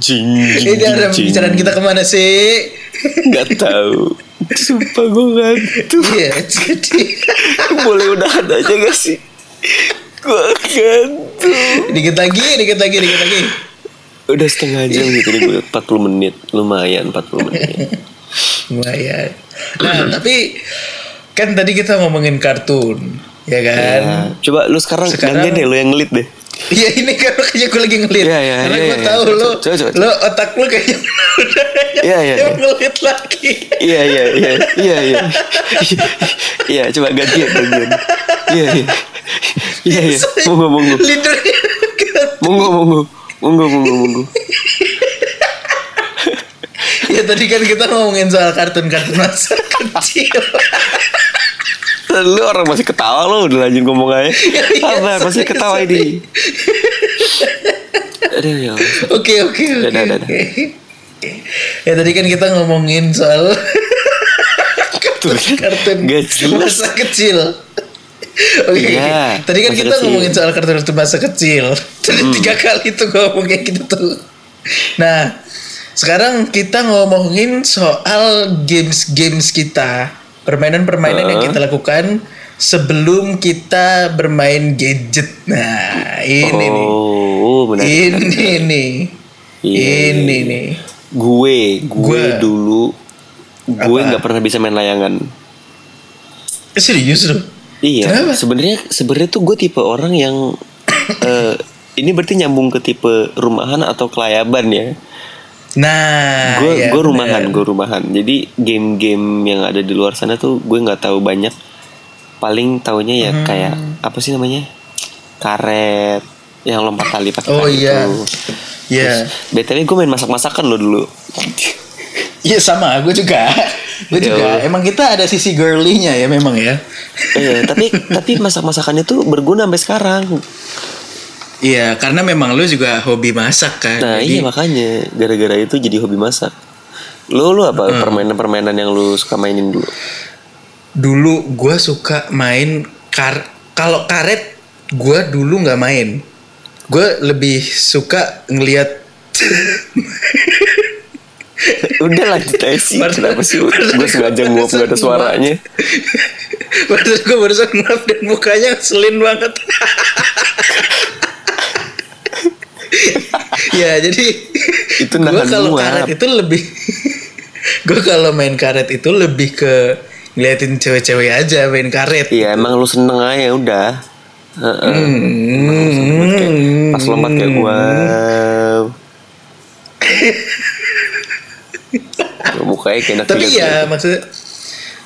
A: jing,
B: Ini arah pembicaraan kita kemana sih?
A: Gak tahu. Sumpah gue ngantuk.
B: Iya, jadi
A: Boleh udahan aja gak sih? Gue ngantuk.
B: dikit lagi, dikit lagi, dikit lagi.
A: Udah setengah jam gitu nih gue 40 menit Lumayan 40 menit
B: Lumayan. Nah, tapi kan tadi kita ngomongin kartun, ya kan?
A: Nah, Coba lu sekarang,
B: Sekarang-
A: gantian deh lu yang ngelit deh
B: Iya ini kan kayaknya gue lagi ngelit.
A: Iya, iya,
B: Karena
A: iya,
B: gue
A: iya.
B: tahu
A: Coba,
B: lo,
A: coba, coba.
B: lo otak lo kayaknya udah
A: Iya, iya,
B: yang
A: iya.
B: ngelit lagi.
A: Iya iya iya iya iya Iya coba gantian gantian Iya iya Iya iya Monggo monggo
B: Leadernya
A: Monggo monggo Monggo monggo monggo
B: Ya tadi kan kita ngomongin soal kartun-kartun masa kecil.
A: Lu orang masih ketawa lu udah lanjut ngomong aja
B: Iya, iya,
A: Apa masih
B: sorry,
A: ketawa ini Aduh ya Allah.
B: Oke oke oke.
A: Dadah, dadah.
B: oke. Ya tadi kan kita ngomongin soal kartun
A: Gak kan? jelas.
B: masa kecil. Oke, oke.
A: Iya,
B: tadi kan
A: masa
B: kita
A: kecil. Hmm.
B: ngomongin soal kartun-kartun masa kecil. Tadi tiga kali tuh gue ngomong kayak gitu tuh. Nah, sekarang kita ngomongin soal games-games kita, permainan-permainan yang
A: Heeh.
B: kita lakukan sebelum kita bermain gadget. Nah, ini nih, Iya.
A: Oh menarik
B: ini nih,
A: Iya,
B: ini
A: iya,
B: nih.
A: gue gue
B: Gue.
A: dulu gue
B: Apa?
A: nggak pernah bisa main layangan
B: Eh, Serius loh?
A: iya
B: Kenapa?
A: sebenarnya sebenarnya tuh gue tipe orang yang eh, ini berarti nyambung ke tipe rumahan atau kelayaban ya
B: Nah,
A: gue
B: ya
A: gue
B: bener.
A: rumahan gue rumahan jadi game-game yang ada di luar sana tuh gue nggak tahu banyak paling tahunya ya
B: Hmm.
A: kayak apa sih namanya karet yang lompat tali pakai
B: Oh,
A: tali
B: iya.
A: tuh.
B: Iya.
A: btw gue main masak-masakan lo dulu
B: Iya sama, gue juga. Gue
A: Iya,
B: juga.
A: Bang.
B: Emang kita ada sisi girly-nya ya memang ya.
A: Iya, tapi tapi masak-masakannya tuh berguna sampai sekarang.
B: Iya, karena memang lu juga hobi masak kan.
A: Nah, iya
B: Jadi,
A: makanya gara-gara itu jadi hobi masak. Lu lu apa
B: Hmm.
A: permainan-permainan yang lu suka mainin dulu?
B: dulu gue suka main kar kalau karet gue dulu nggak main. Gue lebih suka ngelihat
A: Udah lanjut aja sih. Kenapa sih gue sengaja nguap gak ada suaranya?
B: Padahal gue barusan ngeliat dan mukanya selin banget. ya jadi
A: Itu
B: gua
A: nahan
B: kalau
A: nguap.
B: karet itu lebih gue kalau main karet itu lebih ke ngeliatin cewek-cewek aja main karet.
A: Iya, emang lu seneng aja udah. Heeh.
B: Hmm.
A: Pas lompat kayak wow. Mukanya kayak enak
B: Tapi
A: dilihat
B: ya maksud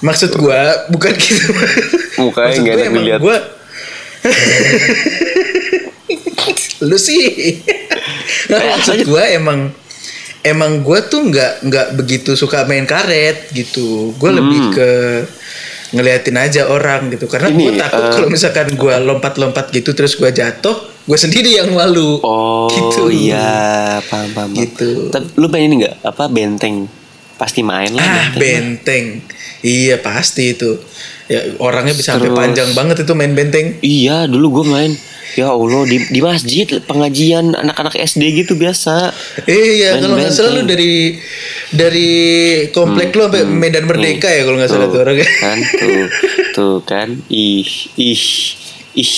B: maksud gue bukan gitu.
A: Mukanya
B: Maksud
A: nggak
B: gua
A: enak
B: emang
A: dilihat.
B: gua- Lu sih. Nah,
A: Eh,
B: maksud
A: lanjut.
B: gue emang emang gue tuh nggak nggak begitu suka main karet gitu. Gue
A: Hmm.
B: lebih ke ngeliatin aja orang gitu karena gue
A: Ini,
B: takut
A: eh,
B: kalau misalkan gue lompat-lompat gitu terus gue jatuh gue sendiri yang malu
A: Oh
B: gitu
A: iya, paham paham. paham.
B: Gitu.
A: Tapi lu main ini nggak? Apa benteng? Pasti main lah.
B: Ah,
A: benteng.
B: benteng. Iya, pasti itu. Ya, orangnya bisa sampai
A: Terus-
B: panjang banget itu main benteng.
A: Iya, dulu gue main. Ya Allah di, di masjid pengajian anak-anak SD gitu biasa.
B: Iya,
A: Main
B: kalau nggak salah
A: benteng.
B: lu
A: Hmm.
B: dari dari komplek lu sampai Medan Merdeka ya kalau nggak salah tuh orangnya.
A: kan tuh tuh kan ih ih ih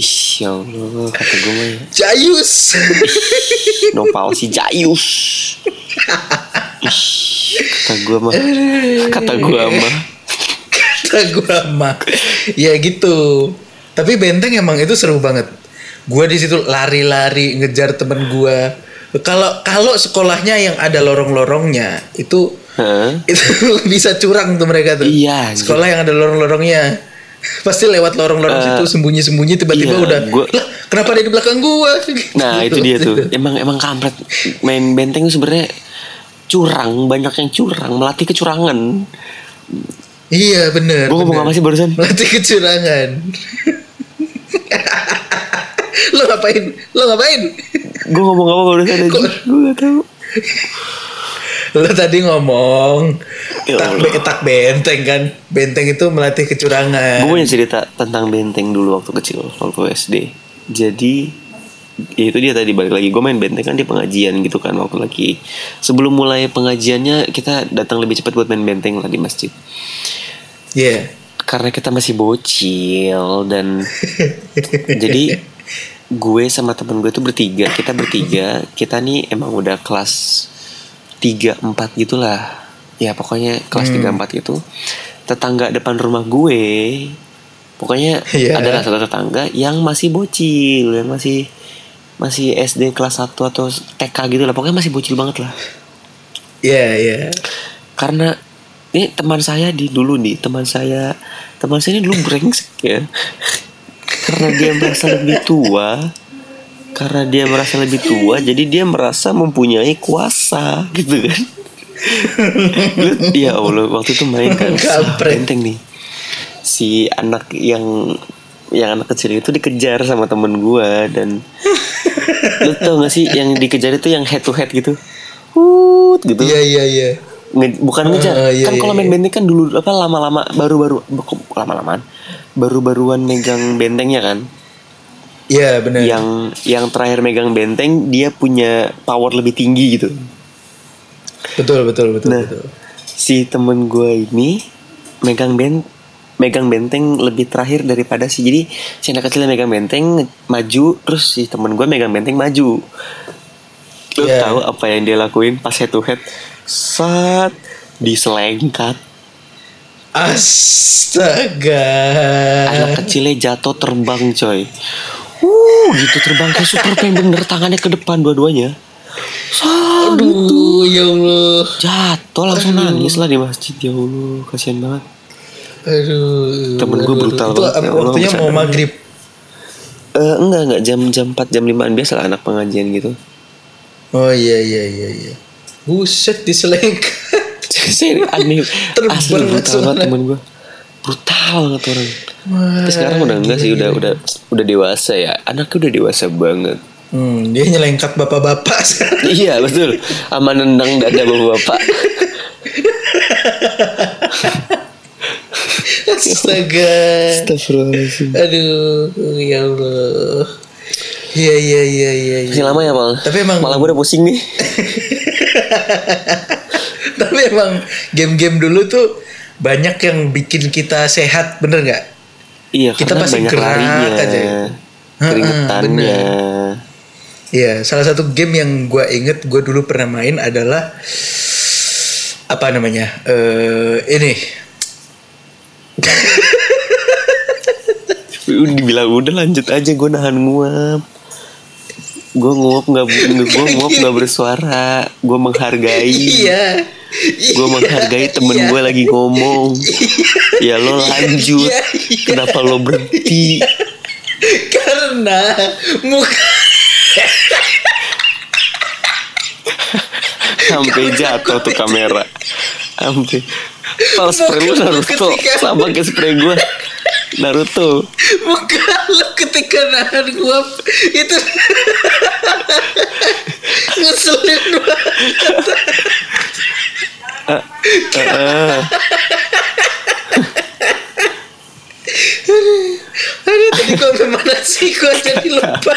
A: ih ya Allah kata gue mah ya.
B: Jayus.
A: nopal si Jayus Ih, kata gua mah kata gua mah
B: kata gua mah ya gitu tapi benteng emang itu seru banget gua di situ lari-lari ngejar temen gua kalau kalau sekolahnya yang ada lorong-lorongnya itu
A: Hah?
B: itu bisa curang tuh mereka tuh
A: Iya, anjir.
B: sekolah yang ada lorong-lorongnya pasti lewat lorong-lorong situ sembunyi-sembunyi tiba-tiba
A: Eh, iya,
B: udah
A: gua-
B: "Lah, kenapa ada di belakang gua
A: nah itu
B: Gitu.
A: dia tuh emang emang kampret main benteng tuh sebenarnya curang banyak yang curang melatih kecurangan
B: iya bener
A: gua ngomong
B: bener.
A: apa sih barusan
B: Melatih kecurangan. lo ngapain? Lo ngapain?
A: gua ngomong apa barusan aja
B: Kok-
A: gua gak tahu
B: Lo tadi ngomong
A: Ya
B: tak,
A: Allah.
B: be- tak benteng kan? Benteng itu melatih kecurangan.
A: Gue punya cerita tentang benteng dulu waktu kecil, waktu SD. Jadi ya itu dia tadi balik lagi gue main benteng kan di pengajian gitu kan waktu lagi sebelum mulai pengajiannya kita datang lebih cepat buat main benteng lah di masjid
B: Iya.
A: karena kita masih bocil dan jadi gue sama temen gue tuh bertiga kita bertiga kita nih emang udah kelas 3 4 gitulah ya pokoknya kelas 3 4 gitu tetangga depan rumah gue pokoknya
B: Iya.
A: adalah satu tetangga yang masih bocil yang masih masih SD kelas 1 atau TK gitu lah pokoknya masih bocil banget lah
B: Iya, iya.
A: karena ini teman saya di dulu nih teman saya teman saya ini dulu brengsek ya karena dia merasa lebih tua karena dia merasa lebih tua jadi dia merasa mempunyai kuasa gitu kan Lu, ya allah waktu itu main kan sah,
B: Kampret.
A: benteng nih si anak yang yang anak kecil itu dikejar sama temen gua dan lu tau gak sih yang dikejar itu yang head to head gitu Wut, gitu
B: Iya, iya, iya.
A: Nge- bukan ngejar
B: Ah, iya,
A: kan
B: iya,
A: kalau main
B: iya.
A: benteng kan dulu apa lama-lama baru-baru kok lama-lamaan baru-baruan megang bentengnya kan
B: Iya, benar.
A: yang yang terakhir megang benteng dia punya power lebih tinggi gitu
B: Betul, betul, betul,
A: nah
B: betul.
A: si temen gue ini megang ben megang benteng lebih terakhir daripada si jadi si anak kecil yang megang benteng nge- maju terus si temen gue megang benteng maju lu
B: Iya.
A: tahu apa yang dia lakuin pas head to head saat diselengkat
B: Astaga. Eh.
A: anak kecilnya jatuh terbang coy uh gitu terbang kayak Superman bener tangannya ke depan dua-duanya Sat,
B: Aduh, ya Allah.
A: jatuh langsung nangis lah di masjid ya allah kasihan banget
B: Aduh.
A: Temen gua
B: aduh, aduh.
A: brutal
B: Itu
A: banget, ya Allah,
B: waktunya mau
A: bercanda.
B: maghrib.
A: Eh enggak enggak jam jam 4 jam 5an biasa lah anak pengajian gitu
B: Oh iya iya iya iya. Buset diselengkat.
A: Serius, aneh
B: Terbang
A: asli brutal
B: langsung.
A: banget temen gue brutal banget orang tapi sekarang udah enggak sih udah udah udah dewasa ya anaknya udah dewasa banget
B: Hmm, dia nyelengkat bapak-bapak sekarang.
A: iya betul sama nendang dada bapak-bapak
B: Astaga.
A: Astagfirullahaladzim
B: Aduh, ya Allah. Iya iya iya iya. iya.
A: Masih lama ya mal.
B: Tapi emang-
A: malah gue udah pusing nih.
B: Tapi emang game-game dulu tuh banyak yang bikin kita sehat, bener nggak?
A: iya
B: Kita
A: karena
B: pasti
A: banyak
B: gerak
A: larinya,
B: aja. Heeh,
A: keringetannya.
B: Iya, salah satu game yang gue inget gue dulu pernah main adalah apa namanya? Eh ini
A: Udah Dibilang udah lanjut aja gue nahan nguap. Gue nguap nggak gue nguap nggak bersuara. Gue menghargai.
B: Iya.
A: Gue menghargai temen
B: Iya.
A: gue lagi ngomong. ya lo lanjut.
B: Iya, iya.
A: Kenapa lo berhenti?
B: Karena muka
A: Sampai jatuh tuh kamera. Sampai. Kalau spray lu Naruto
B: Ketika-
A: sama kayak spray gue Naruto.
B: muka lo ketika nahan gua itu ngeselin banget. Aduh, tadi gua sampai mana sih gua jadi lupa.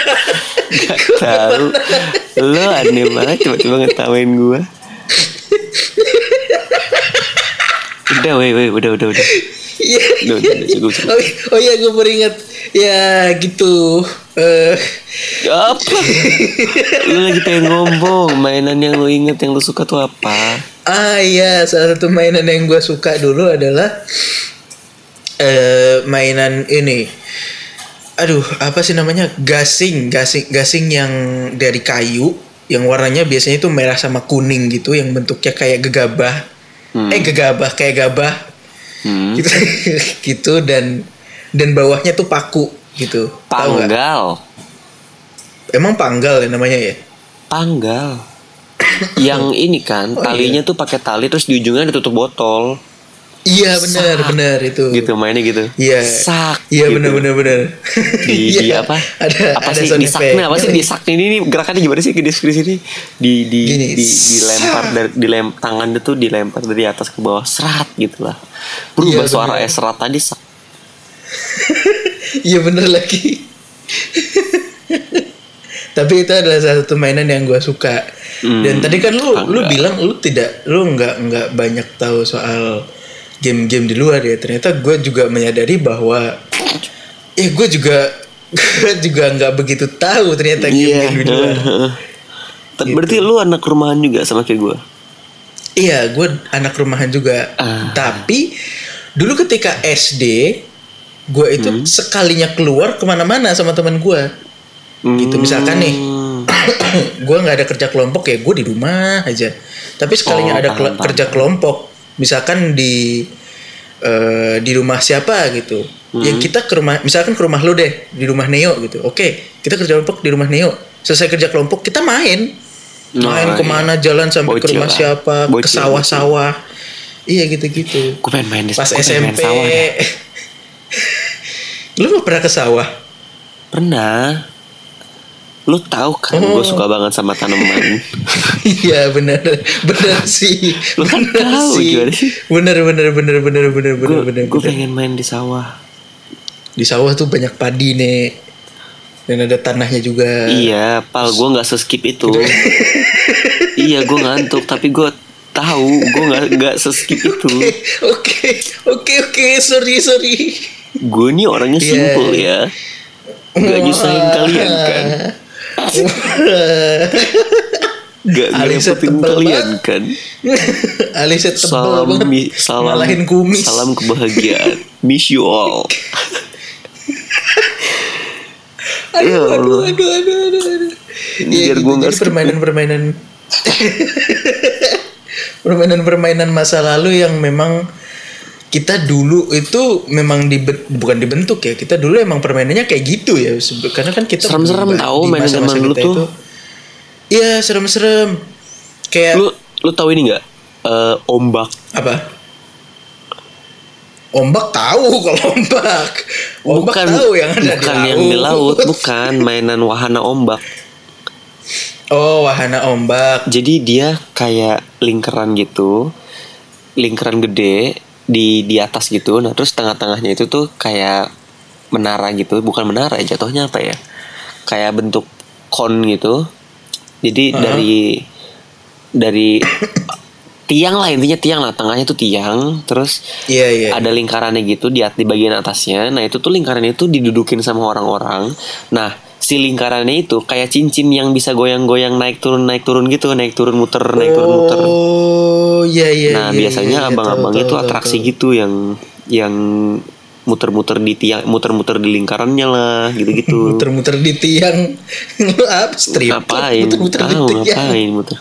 B: Gua sampai
A: tahu
B: mana?
A: lo aneh banget tiba-tiba ngetawain gua udah weh weh udah udah udah
B: Iya.
A: Udah, udah, udah, cukup, cukup.
B: Oh, i- oh iya gue beringat ya gitu. Eh,
A: apa lu lagi pengen ngomong mainan yang lu inget yang lu suka tuh apa
B: Ah iya, salah satu mainan yang gue suka dulu adalah eh mainan ini. Aduh, apa sih namanya? Gasing, gasing, gasing yang dari kayu, yang warnanya biasanya itu merah sama kuning gitu, yang bentuknya kayak gegabah. Eh gegabah, kayak gabah
A: Hmm.
B: gitu, gitu dan dan bawahnya tuh paku gitu. Tahu nggak?
A: Panggal.
B: Emang panggal ya namanya ya?
A: Panggal. Yang ini kan
B: Oh,
A: talinya tuh pakai tali terus di ujungnya ditutup botol.
B: Iya benar, benar itu.
A: Gitu mainnya gitu.
B: Hmm. Iya.
A: Sak.
B: Iya
A: gitu.
B: benar benar benar.
A: Di, di
B: Iya,
A: apa?
B: Ada
A: apa
B: ada
A: sih
B: sound
A: di sakna
B: effect.
A: apa sih di sakna ini, ini gerakannya gimana sih ke deskripsi ini? Di di
B: Gini,
A: di dilempar dari dilem tangannya tuh dilempar dari atas ke bawah serat gitu lah. Berubah
B: Iya,
A: suara
B: bener.
A: es serat tadi sak.
B: Iya benar lagi. Tapi itu adalah salah satu mainan yang gue suka.
A: Hmm.
B: Dan tadi kan lu lu
A: Enggak.
B: bilang lu tidak lu nggak nggak banyak tahu soal game-game di luar ya. Ternyata gue juga menyadari bahwa ya gue juga gue juga nggak begitu tahu ternyata
A: Iya.
B: game-game di luar.
A: Tapi
B: Gitu.
A: Berarti lu anak rumahan juga sama kayak gue.
B: Iya, gue anak rumahan juga.
A: Ah.
B: Tapi dulu ketika SD, gue itu
A: Hmm.
B: sekalinya keluar kemana-mana sama teman gue. Gitu misalkan nih,
A: Hmm.
B: gue nggak ada kerja kelompok ya, gue di rumah aja. Tapi sekalinya
A: Oh,
B: ada
A: paham,
B: kela-
A: paham,
B: kerja kelompok, misalkan di eh, di rumah siapa gitu.
A: Hmm.
B: Ya kita ke rumah, misalkan ke rumah lu deh, di rumah Neo gitu. Oke, kita kerja kelompok di rumah Neo. Selesai kerja kelompok kita main,
A: Nah,
B: main kemana, jalan sampai ke
A: Bocil
B: rumah
A: lah.
B: siapa, ke
A: Bocil,
B: sawah-sawah. Iya gitu-gitu.
A: Gue pengen main di
B: Pas
A: gua pengen main
B: SMP,
A: sawah ya. deh.
B: lu nggak pernah ke sawah?
A: Pernah. Lu tahu kan
B: Oh.
A: gue suka banget sama tanaman.
B: Iya benar benar sih.
A: Lu kan
B: Benar
A: tahu gimana sih?
B: Benar benar benar benar benar benar benar.
A: gue pengen main di sawah.
B: Di sawah tuh banyak padi nih. Dan ada tanahnya juga.
A: Iya, pal gue nggak seskip itu.
B: Gitu ya?
A: iya, gue ngantuk tapi gue tahu gue nggak nggak seskip itu.
B: Oke, Oke, oke, oke, sorry, sorry.
A: Gue nih orangnya
B: Iya.
A: simple ya. Nggak nyusahin kalian kan. Nggak nggak
B: Alisnya
A: repotin
B: tebel
A: kalian
B: banget.
A: kan.
B: Alisnya tebal
A: Salam,
B: banget.
A: mi- salam,
B: Malahin kumis.
A: salam kebahagiaan. Miss you all. Ya
B: aduh, aduh,
A: Allah.
B: aduh, aduh, aduh, aduh.
A: Ini biar
B: gitu.
A: gua nggak
B: Jadi
A: skip.
B: permainan-permainan permainan-permainan masa lalu yang memang kita dulu itu memang dibe- bukan dibentuk ya kita dulu emang permainannya kayak gitu ya Sebe- karena kan kita
A: Serem-serem
B: berubah
A: tahu
B: di
A: mainan
B: masa-masa
A: zaman dulu
B: kita
A: tuh.
B: itu. iya serem-serem kayak
A: Lu lu tahu ini nggak? Eh, ombak.
B: apa ombak tahu kalau ombak ombak tahu yang ada
A: bukan yang di laut, bukan mainan wahana ombak.
B: oh wahana ombak
A: Jadi dia kayak lingkaran gitu, lingkaran gede di di atas gitu. Nah terus tengah-tengahnya itu tuh kayak menara gitu, bukan menara ya jatuhnya apa ya? Kayak bentuk kon gitu. Jadi dari dari tiang lah intinya tiang lah tengahnya tuh tiang terus
B: iya iya
A: ada lingkarannya gitu di, at- di bagian atasnya. Nah itu tuh lingkarannya itu didudukin sama orang-orang. Nah si lingkarannya itu kayak cincin yang bisa goyang-goyang naik turun naik turun gitu naik turun muter naik turun muter.
B: Oh, iya iya.
A: Nah
B: iya,
A: biasanya
B: iya, iya,
A: abang-abang
B: tahu,
A: itu
B: tahu, tahu,
A: atraksi
B: tahu.
A: gitu yang yang muter-muter di tiang muter-muter di lingkarannya lah gitu-gitu.
B: Muter-muter di tiang. Lu apa strip? club,
A: ngapain?
B: Muter-muter di
A: Tahu
B: tiang.
A: ngapain muter?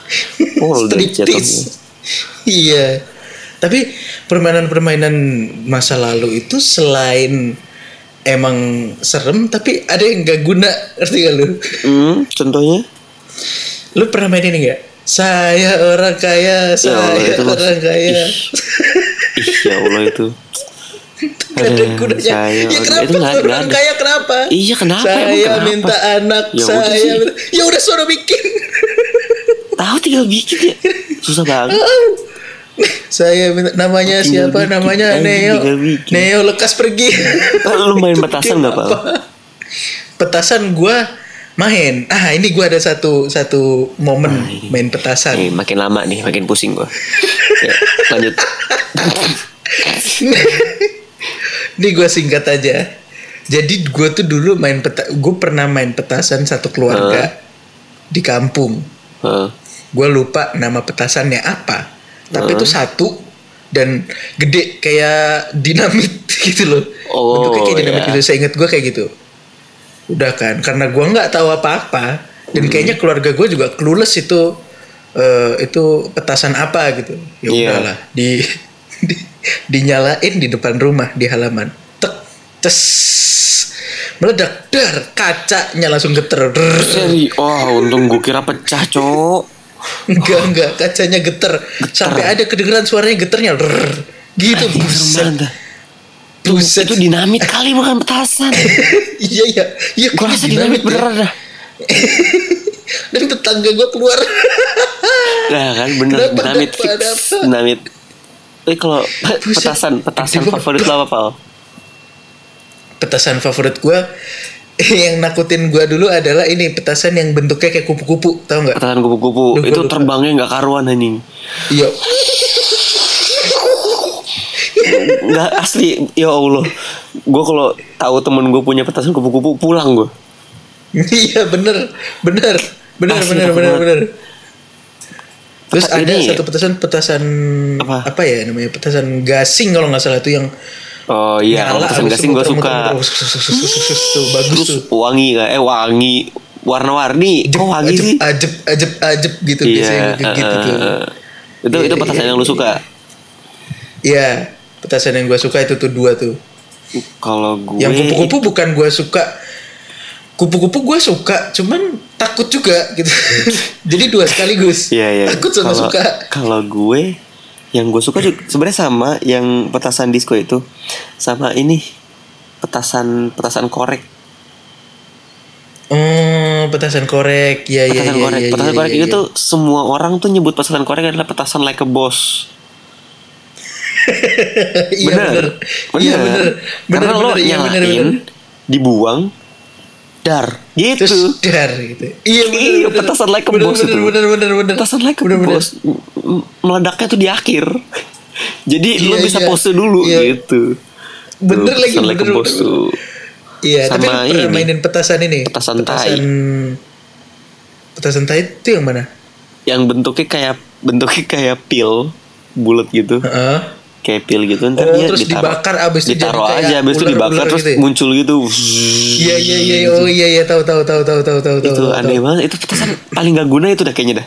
A: Oh, udah
B: Striptease.
A: jatuhnya.
B: Iya. Tapi permainan-permainan masa lalu itu selain emang serem tapi ada yang gak guna ngerti gak lu?
A: Hmm, contohnya?
B: Lu pernah main ini gak? Saya orang
A: Ya
B: kaya, saya
A: Allah, itu mas-
B: Nah, orang kaya.
A: Ih. Ih, ya Allah itu.
B: Gak ada
A: Aduh,
B: gunanya.
A: saya-
B: ya kenapa
A: itu nggak- nggak
B: orang
A: ada.
B: kaya kenapa?
A: Iya, kenapa?
B: Saya
A: Emang kenapa?
B: minta anak
A: Ya udah
B: saya.
A: sih.
B: minta- Ya udah suruh bikin.
A: Tahu tinggal bikin ya. Susah banget.
B: saya minta namanya
A: Tinggal
B: siapa?
A: bikin,
B: Namanya
A: anjing,
B: Neo.
A: tinggal bikin.
B: Neo lekas pergi.
A: Lu main petasan nggak, Pak?
B: Apa? Iya. Petasan gua main. Ah, ini gua ada satu satu momen
A: Ah,
B: main petasan.
A: Eh, makin lama nih, makin pusing gua. Ya, lanjut.
B: Ini gue singkat aja. Jadi gue tuh dulu main peta, gue pernah main petasan satu keluarga di kampung.
A: Heeh.
B: Gue lupa nama petasannya apa. tapi itu satu dan gede kayak dinamit gitu loh.
A: Oh,
B: Bentuknya kayak dinamit
A: iya.
B: gitu. Saya ingat gue kayak gitu. Udah kan, karena gue nggak tahu apa-apa dan
A: Hmm.
B: kayaknya keluarga gue juga clueless itu eh, itu petasan apa gitu. Ya
A: Iya.
B: udahlah, di, di dinyalain di depan rumah di halaman. Tek, tes, meledak, der, kacanya langsung geter. Der.
A: Seri. Oh, untung gue kira pecah, Cok.
B: Enggak, enggak, kacanya geter. Sampai ada kedengeran suaranya geternya. Rrrr. Gitu, buset.
A: Serem dah.
B: Buset.
A: Itu dinamit kali bukan petasan.
B: iya, iya. Iya,
A: Gue
B: kok
A: rasa
B: dinamit
A: dinamit
B: ya?
A: beneran dah.
B: Dan tetangga gue keluar.
A: Nah kan bener
B: Kenapa,
A: dinamit
B: kenapa,
A: fix.
B: kenapa?
A: Dinamit. Eh kalau petasan, petasan
B: Gede banget.
A: favorit lo apa, Pal?
B: petasan favorit gue yang nakutin gue dulu adalah ini petasan yang bentuknya kayak kupu-kupu, tau nggak?
A: Petasan kupu-kupu.
B: Duh, gua
A: Itu
B: lupa.
A: terbangnya nggak karuan anjing.
B: Iya.
A: Nggak asli. Ya Allah. Gue kalau tahu temen gue punya petasan kupu-kupu pulang gue.
B: Iya, bener. Bener. Bener,
A: Asli,
B: bener,
A: takut
B: bener,
A: banget.
B: bener. Terus
A: Peta-
B: ada
A: ini-
B: satu petasan petasan
A: Apa?
B: apa ya namanya petasan gasing kalau nggak salah itu yang
A: Oh iya, kalau petasan gasing gue suka.
B: Tuh bagus tuh.
A: Terus wangi nggak? Eh wangi, warna-warni. Kok Oh, wangi
B: Ajep,
A: sih?
B: ajep, ajep, ajep gitu biasanya
A: Iya.
B: gitu, gitu tuh.
A: eh, Itu
B: Iya,
A: itu petasan
B: iya,
A: yang lu suka.
B: Iya, petasan yang gue suka itu tuh dua tuh.
A: Kalau gue
B: Yang kupu-kupu bukan gue suka. Kupu-kupu gue suka, cuman takut juga gitu. Jadi dua sekaligus.
A: Iya iya.
B: Takut sama
A: Kalau-
B: suka.
A: Kalau gue yang gue suka juga- sebenarnya sama yang petasan disco itu sama ini petasan petasan korek
B: Oh, petasan korek. Iya, iya,
A: petasan
B: iya.
A: korek
B: iya,
A: petasan
B: iya,
A: korek
B: iya,
A: itu tuh semua orang tuh nyebut petasan korek adalah petasan like a boss
B: Iya, bener. Iya, bener. Bener,
A: karena lo
B: bener. Iya, bener,
A: nyalain
B: bener.
A: dibuang dar gitu
B: Terus dar gitu. Iya, bener,
A: Iya,
B: bener.
A: petasan like a
B: Bener,
A: boss
B: bener,
A: itu.
B: Bener, bener, bener.
A: petasan like a
B: Bener, bener.
A: boss M- m- meledaknya tuh di akhir jadi lo
B: Iya,
A: bisa
B: iya.
A: pose dulu
B: Iya.
A: gitu
B: Bener
A: Tuh,
B: lagi,
A: petasan like a
B: bener,
A: boss
B: bener.
A: tuh
B: Iya, tapi lu
A: Sama
B: pernah
A: ini.
B: mainin petasan ini.
A: Petasan tai.
B: Petasan tai itu yang mana?
A: yang bentuknya kayak bentuknya kayak pil bulat gitu
B: Heeh.
A: kayak pil gitu ntar
B: Oh,
A: dia
B: terus
A: ditaruh-
B: dibakar abis itu jadi
A: ditaruh
B: kayak
A: aja abis itu
B: ular-ular
A: dibakar terus
B: gitu ya?
A: muncul gitu
B: Iya iya iya oh iya iya tahu tahu tahu tahu tahu tahu
A: Hmm. itu
B: tahu,
A: aneh
B: tahu.
A: banget itu petasan paling gak guna itu dah kayaknya dah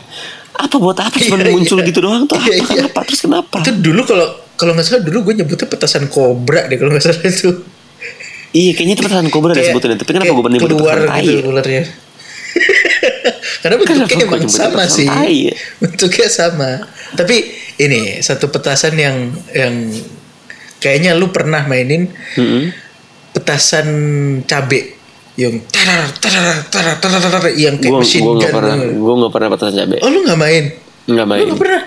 A: apa buat apa cuma
B: Iya,
A: muncul
B: iya.
A: gitu doang tuh apa
B: Iya, iya.
A: kenapa terus kenapa
B: Itu dulu kalau kalau nggak salah dulu gue nyebutnya petasan kobra deh kalau nggak salah itu.
A: iya kayaknya itu petasan kobra dah
B: Kayak-
A: sebetulnya tapi kenapa
B: kayak
A: gue bener bener
B: keluar
A: petasan tai
B: gitu ularnya. Karena bentuknya
A: Kenapa gua
B: emang
A: nyebutnya
B: sama
A: petasan
B: sih.
A: tai ya?
B: Bentuknya sama. Tapi ini satu petasan yang yang kayaknya lu pernah mainin
A: Mm-mm.
B: petasan cabe yang tarar tarar tarar tarar tarar, yang kayak
A: Gua
B: mesin
A: gue
B: gun. gitu.
A: nggak pernah gue nggak pernah petasan cabe
B: Oh lu nggak main?
A: nggak
B: Lu
A: main
B: nggak pernah?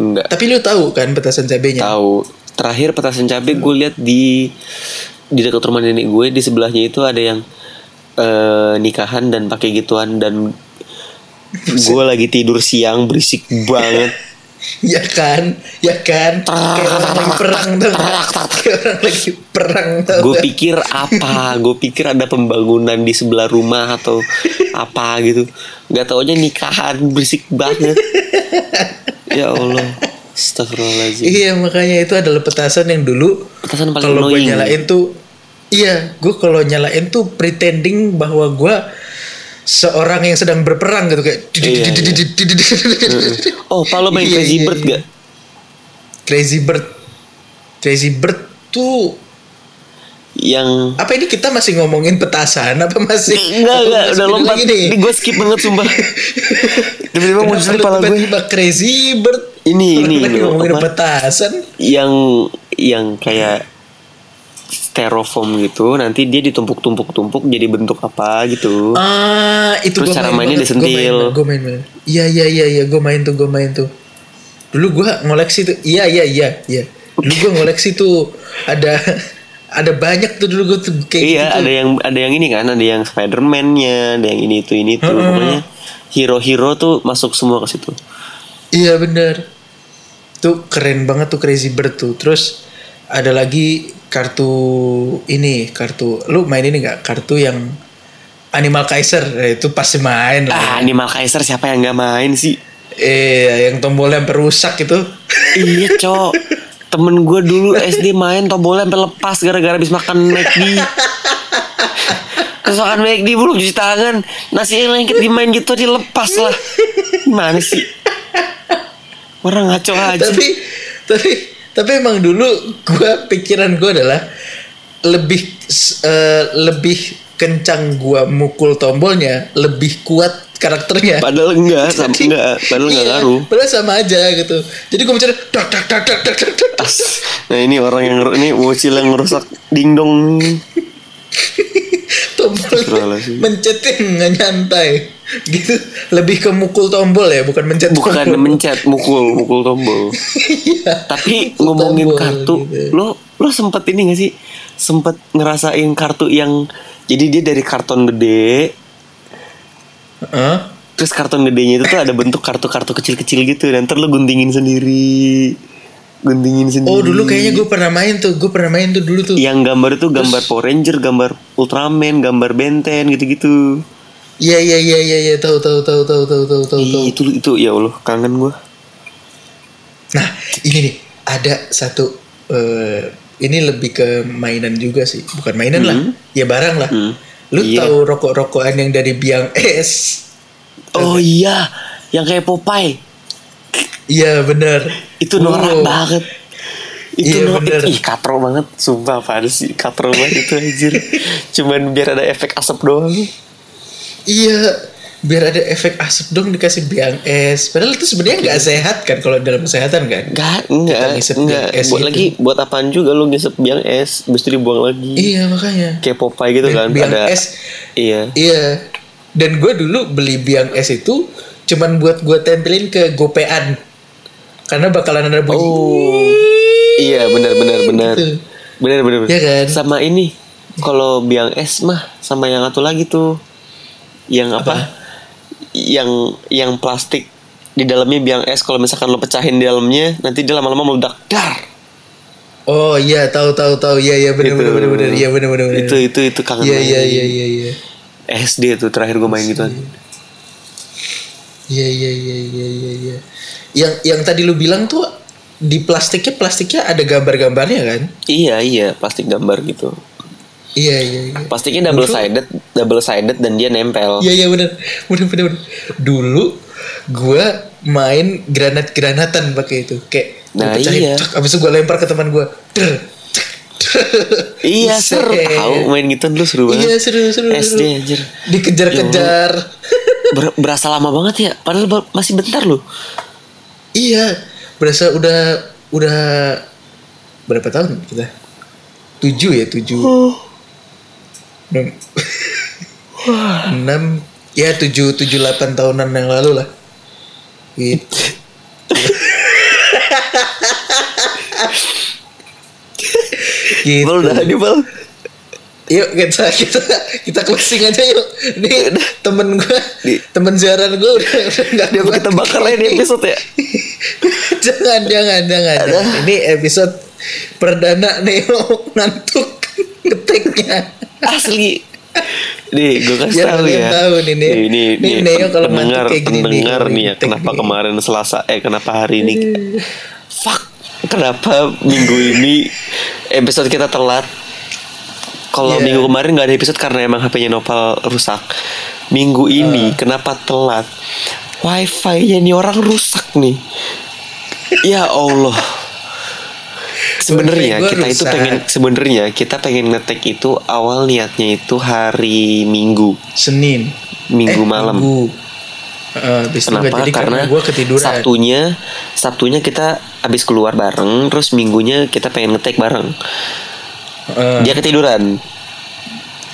A: nggak
B: Tapi lu tahu kan petasan cabenya?
A: tahu terakhir petasan cabe gue lihat di di dekat rumah nenek gue di sebelahnya itu ada yang eh, nikahan dan pakai gituan dan gue lagi tidur siang berisik banget
B: Ya kan, ya kan. Kayak orang lagi perang tuh. Kayak orang lagi perang tuh.
A: gue pikir apa gue pikir ada pembangunan di sebelah rumah atau apa gitu nggak taunya nikahan berisik banget ya allah Astagfirullahaladzim
B: Iya makanya itu adalah petasan yang dulu
A: Petasan paling
B: kalau gue
A: annoying.
B: nyalain tuh, iya gue kalau nyalain tuh pretending bahwa gue seorang yang sedang berperang gitu kayak.
A: Iya, iya. oh Pak, lo main
B: Iya,
A: crazy
B: iya,
A: bird
B: iya.
A: gak
B: Crazy Bird, Crazy Bird tuh
A: yang
B: apa ini kita masih ngomongin petasan apa masih?
A: Enggak, enggak,
B: apa masih
A: udah
B: beda
A: lompat.
B: lagi nih?
A: Ini gue skip banget sumpah. Tiba-tiba
B: Kenapa
A: muncul di
B: lu
A: kepala gue
B: tiba-tiba crazy bird
A: Ini, ini, ini,
B: lagi ngomongin
A: apa?
B: petasan
A: yang yang kayak styrofoam gitu, nanti dia ditumpuk-tumpuk-tumpuk jadi bentuk apa gitu.
B: ah itu
A: Terus
B: gua
A: cara
B: main
A: mainnya
B: banget.
A: disentil.
B: gue main main iya iya iya iya gue main tuh gue main tuh dulu gue ngoleksi tuh iya iya iya iya dulu gue ngoleksi tuh ada ada banyak tuh dulu gue tuh kayak
A: iya,
B: gitu tuh.
A: ada yang ada yang ini kan, ada yang Spiderman-nya, ada yang ini itu ini itu.
B: Heeh.
A: Pokoknya hero-hero tuh masuk semua ke situ.
B: Iya bener Tuh keren banget tuh Crazy Bird tuh Terus ada lagi kartu ini Kartu Lu main ini gak? Kartu yang Animal Kaiser Eh, Itu pasti main lah
A: Ah, Animal Kaiser siapa yang nggak main sih?
B: Eh yang tombolnya sampai rusak itu
A: iya cok temen gue dulu SD main tombolnya sampai lepas gara-gara habis makan McD kesokan McD belum cuci tangan nasi yang lengket dimain gitu dilepas lah gimana sih orang ngaco aja
B: tapi tapi tapi emang dulu gua pikiran gua adalah lebih s- eh, lebih kencang gua mukul tombolnya lebih kuat karakternya
A: padahal enggak sama
B: Jadi-
A: enggak padahal enggak
B: Iya,
A: ngaruh
B: padahal sama aja gitu jadi gua bicara dak dak dak dak dak dak dak.
A: Tas. nah ini orang yang ngeru- ini bocil yang ngerusak dingdong
B: tombol
A: Astagfirullahaladzim.
B: mencetin nggak nyantai gitu lebih ke mukul tombol ya bukan mencet
A: bukan
B: tombol.
A: mencet mukul mukul tombol
B: Iya.
A: tapi
B: Mukul
A: ngomongin
B: tombol
A: kartu
B: gitu.
A: lo lo sempet ini gak sih sempet ngerasain kartu yang jadi dia dari karton gede
B: Hah?
A: terus karton gedenya itu tuh ada bentuk kartu-kartu kecil-kecil gitu dan ntar lo guntingin sendiri guntingin sendiri
B: oh dulu kayaknya gue pernah main tuh gue pernah main tuh dulu tuh
A: yang gambar itu gambar Power Ranger gambar Ultraman gambar Benten gitu-gitu
B: iya iya iya iya iya tahu tahu tahu tahu tahu tahu tahu tahu.
A: Ih, itu itu ya Allah kangen gua
B: nah ini nih ada satu eh, ini lebih ke mainan juga sih bukan mainan lah ya barang lah
A: Hmm.
B: lu
A: Iya.
B: tahu rokok-rokokan yang dari biang es
A: oh iya yang kayak Popeye
B: iya benar
A: itu norak
B: Wow.
A: banget itu
B: Iya,
A: norak
B: bener.
A: ih katro banget sumpah apaan sih katro banget itu anjir cuman biar ada efek asap doang
B: Iya, biar ada efek asap dong dikasih biang es. Padahal itu sebenarnya nggak sehat kan kalau dalam kesehatan kan.
A: Enggak, enggak,
B: ngisep
A: enggak.
B: biang es
A: Buat
B: gitu.
A: lagi buat apaan juga lo ngisep biang es, habis itu dibuang lagi.
B: Iya makanya.
A: Hmm. Kayak Popeye gitu kan
B: biang
A: ada.
B: es.
A: Iya.
B: Iya. Dan gue dulu beli biang es itu cuman buat gue tempelin ke gopean. Karena bakalan ada bunyi.
A: Oh. Iya, benar benar benar.
B: Gitu.
A: Benar benar. benar.
B: Iya kan?
A: Sama ini kalau biang es mah sama yang satu lagi tuh. Yang apa? Yang yang plastik di dalamnya biang es kalau misalkan lo pecahin di dalamnya nanti dia lama-lama meledak dar
B: Oh iya, tahu tahu tahu. Iya iya
A: Gitu.
B: benar benar benar benar. Iya benar benar benar.
A: itu itu itu kangen
B: Iya
A: banget.
B: iya iya iya iya.
A: SD tuh terakhir gue main gitu
B: Iya iya iya iya iya iya. Yang yang tadi lu bilang tuh di plastiknya plastiknya ada gambar-gambarnya kan?
A: iya iya plastik gambar gitu
B: Iya iya iya.
A: Plastiknya double sided, double sided dan dia nempel.
B: Iya iya benar. Benar benar. benar. Dulu gua main granat-granatan pakai itu. Kayak gua
A: Nah,
B: pecahin,
A: iya.
B: cek, abis itu gua lempar ke teman gua. Der, cek, der.
A: Iya
B: Buset.
A: seru tahu main gitu dulu seru banget.
B: Iya seru seru. seru.
A: SD anjir.
B: Dikejar-kejar.
A: Ber- berasa lama banget ya, padahal ba- masih bentar loh.
B: iya. Berasa udah udah berapa tahun kita? Tujuh ya tujuh.
A: Oh.
B: Enam- Enam ya tujuh tujuh delapan tahunan yang lalu lah. Gitu. gitu.
A: Bal udah aduh bal.
B: Yuk kita kita kita closing aja yuk. Nih temen gue,
A: Di-
B: temen siaran gue udah udah nggak
A: Dia
B: kuat.
A: kita bakar lain episode ya.
B: jangan jangan jangan. jangan. Ini episode perdana nih ngantuk ngetiknya.
A: Asli. Nih, gue kasih
B: Biar
A: tahu
B: kalian
A: ya.
B: tahu nih, Neo.
A: ini,
B: Nih,
A: ini,
B: Neo kalau ngantuk
A: pendengar,
B: kayak gini nih,
A: pendengar
B: kalau
A: nih ya.
B: ngetik
A: Kenapa
B: nih.
A: kemarin Selasa? Eh, kenapa hari ini? Fuck. Kenapa minggu ini episode kita telat? Kalau
B: Iya.
A: minggu kemarin nggak ada episode karena emang HP-nya Nopal rusak. Minggu ini kenapa telat? Wifi-nya nih orang rusak nih. Ya Allah. Sebenarnya
B: Wifi gua
A: kita itu
B: rusak.
A: pengen sebenarnya kita pengen ngetek itu awal niatnya itu hari Minggu,
B: Senin.
A: Minggu malam.
B: Minggu. Eh, abis itu nggak
A: Kenapa?
B: jadi karena,
A: karena
B: gue ketiduran.
A: Sabtunya, Sabtunya kita habis keluar bareng, terus Minggunya kita pengen ngetek bareng.
B: Eh,
A: Dia ketiduran.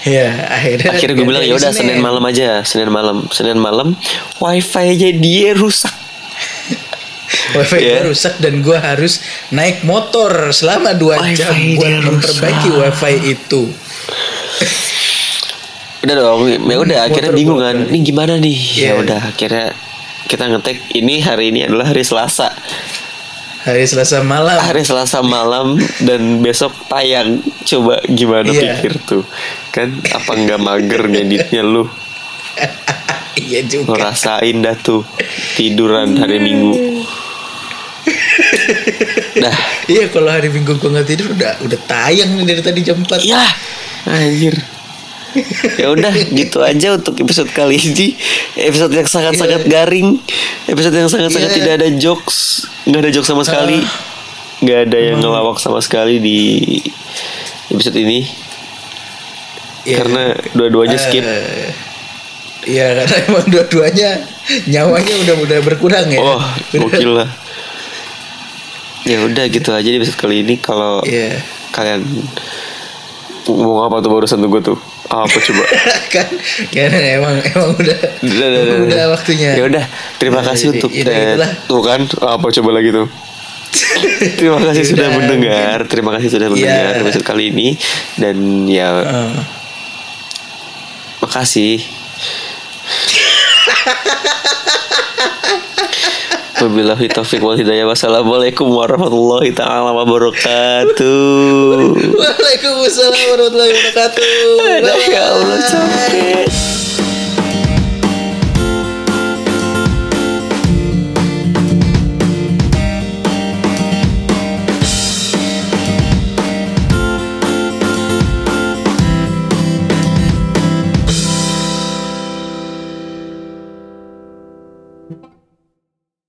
B: ya akhirnya.
A: Akhirnya gue bilang ya udah Senin malam aja, Senin malam, Senin malam. Wifi aja dia rusak.
B: Wifi
A: Ya.
B: gue rusak dan gue harus naik motor selama 2
A: Wifi
B: jam
A: dia
B: buat memperbaiki
A: rusak.
B: wifi itu.
A: Udah dong, ya udah akhirnya
B: Hmm, motor
A: bingung kan.
B: bolak-balik.
A: Ini gimana nih?
B: Iya.
A: Ya udah akhirnya kita ngetek ini hari ini adalah hari Selasa.
B: Hari Selasa malam.
A: Hari Selasa malam dan besok tayang. Coba gimana
B: Iya.
A: pikir tuh. Kan apa nggak mager ngeditnya lu?
B: iya juga.
A: Ngerasain dah tuh tiduran hari Minggu. Dah.
B: iya kalau hari minggu gue nggak tidur udah udah tayang nih dari tadi jam 4
A: Ya, anjir. ya udah gitu aja untuk episode kali ini episode yang sangat-sangat garing episode yang sangat-sangat
B: Iya. Ah.
A: tidak ada jokes nggak ada jokes sama sekali nggak ada yang
B: Hmm.
A: ngelawak sama sekali di episode ini
B: Iya.
A: karena dua-duanya skip
B: Eh, Iya karena emang dua-duanya nyawanya udah udah berkurang ya.
A: oh
B: Udah-
A: gokil lah ya udah gitu aja di episode kali ini kalau
B: Iya.
A: kalian mau apa tuh barusan tuh gue tuh apa coba
B: kan karena emang emang udah
A: Udah, udah, udah,
B: udah
A: udah.
B: waktunya.
A: Ya udah, terima
B: Ya,
A: kasih
B: jadi-
A: untuk
B: ya udah
A: eh,
B: gitulah.
A: tuh kan apa coba lagi tuh. terima kasih
B: Ya
A: sudah
B: udah,
A: mendengar, terima kasih sudah mendengar
B: Iya.
A: episode kali ini dan ya
B: Eh,
A: makasih. Wabillahi taufiq wal hidayah. Wassalamualaikum warahmatullahi taala wabarakatuh.
B: Waalaikumsalam warahmatullahi wabarakatuh.
A: Aduh, ya Allah
B: Bye-bye.
A: capek.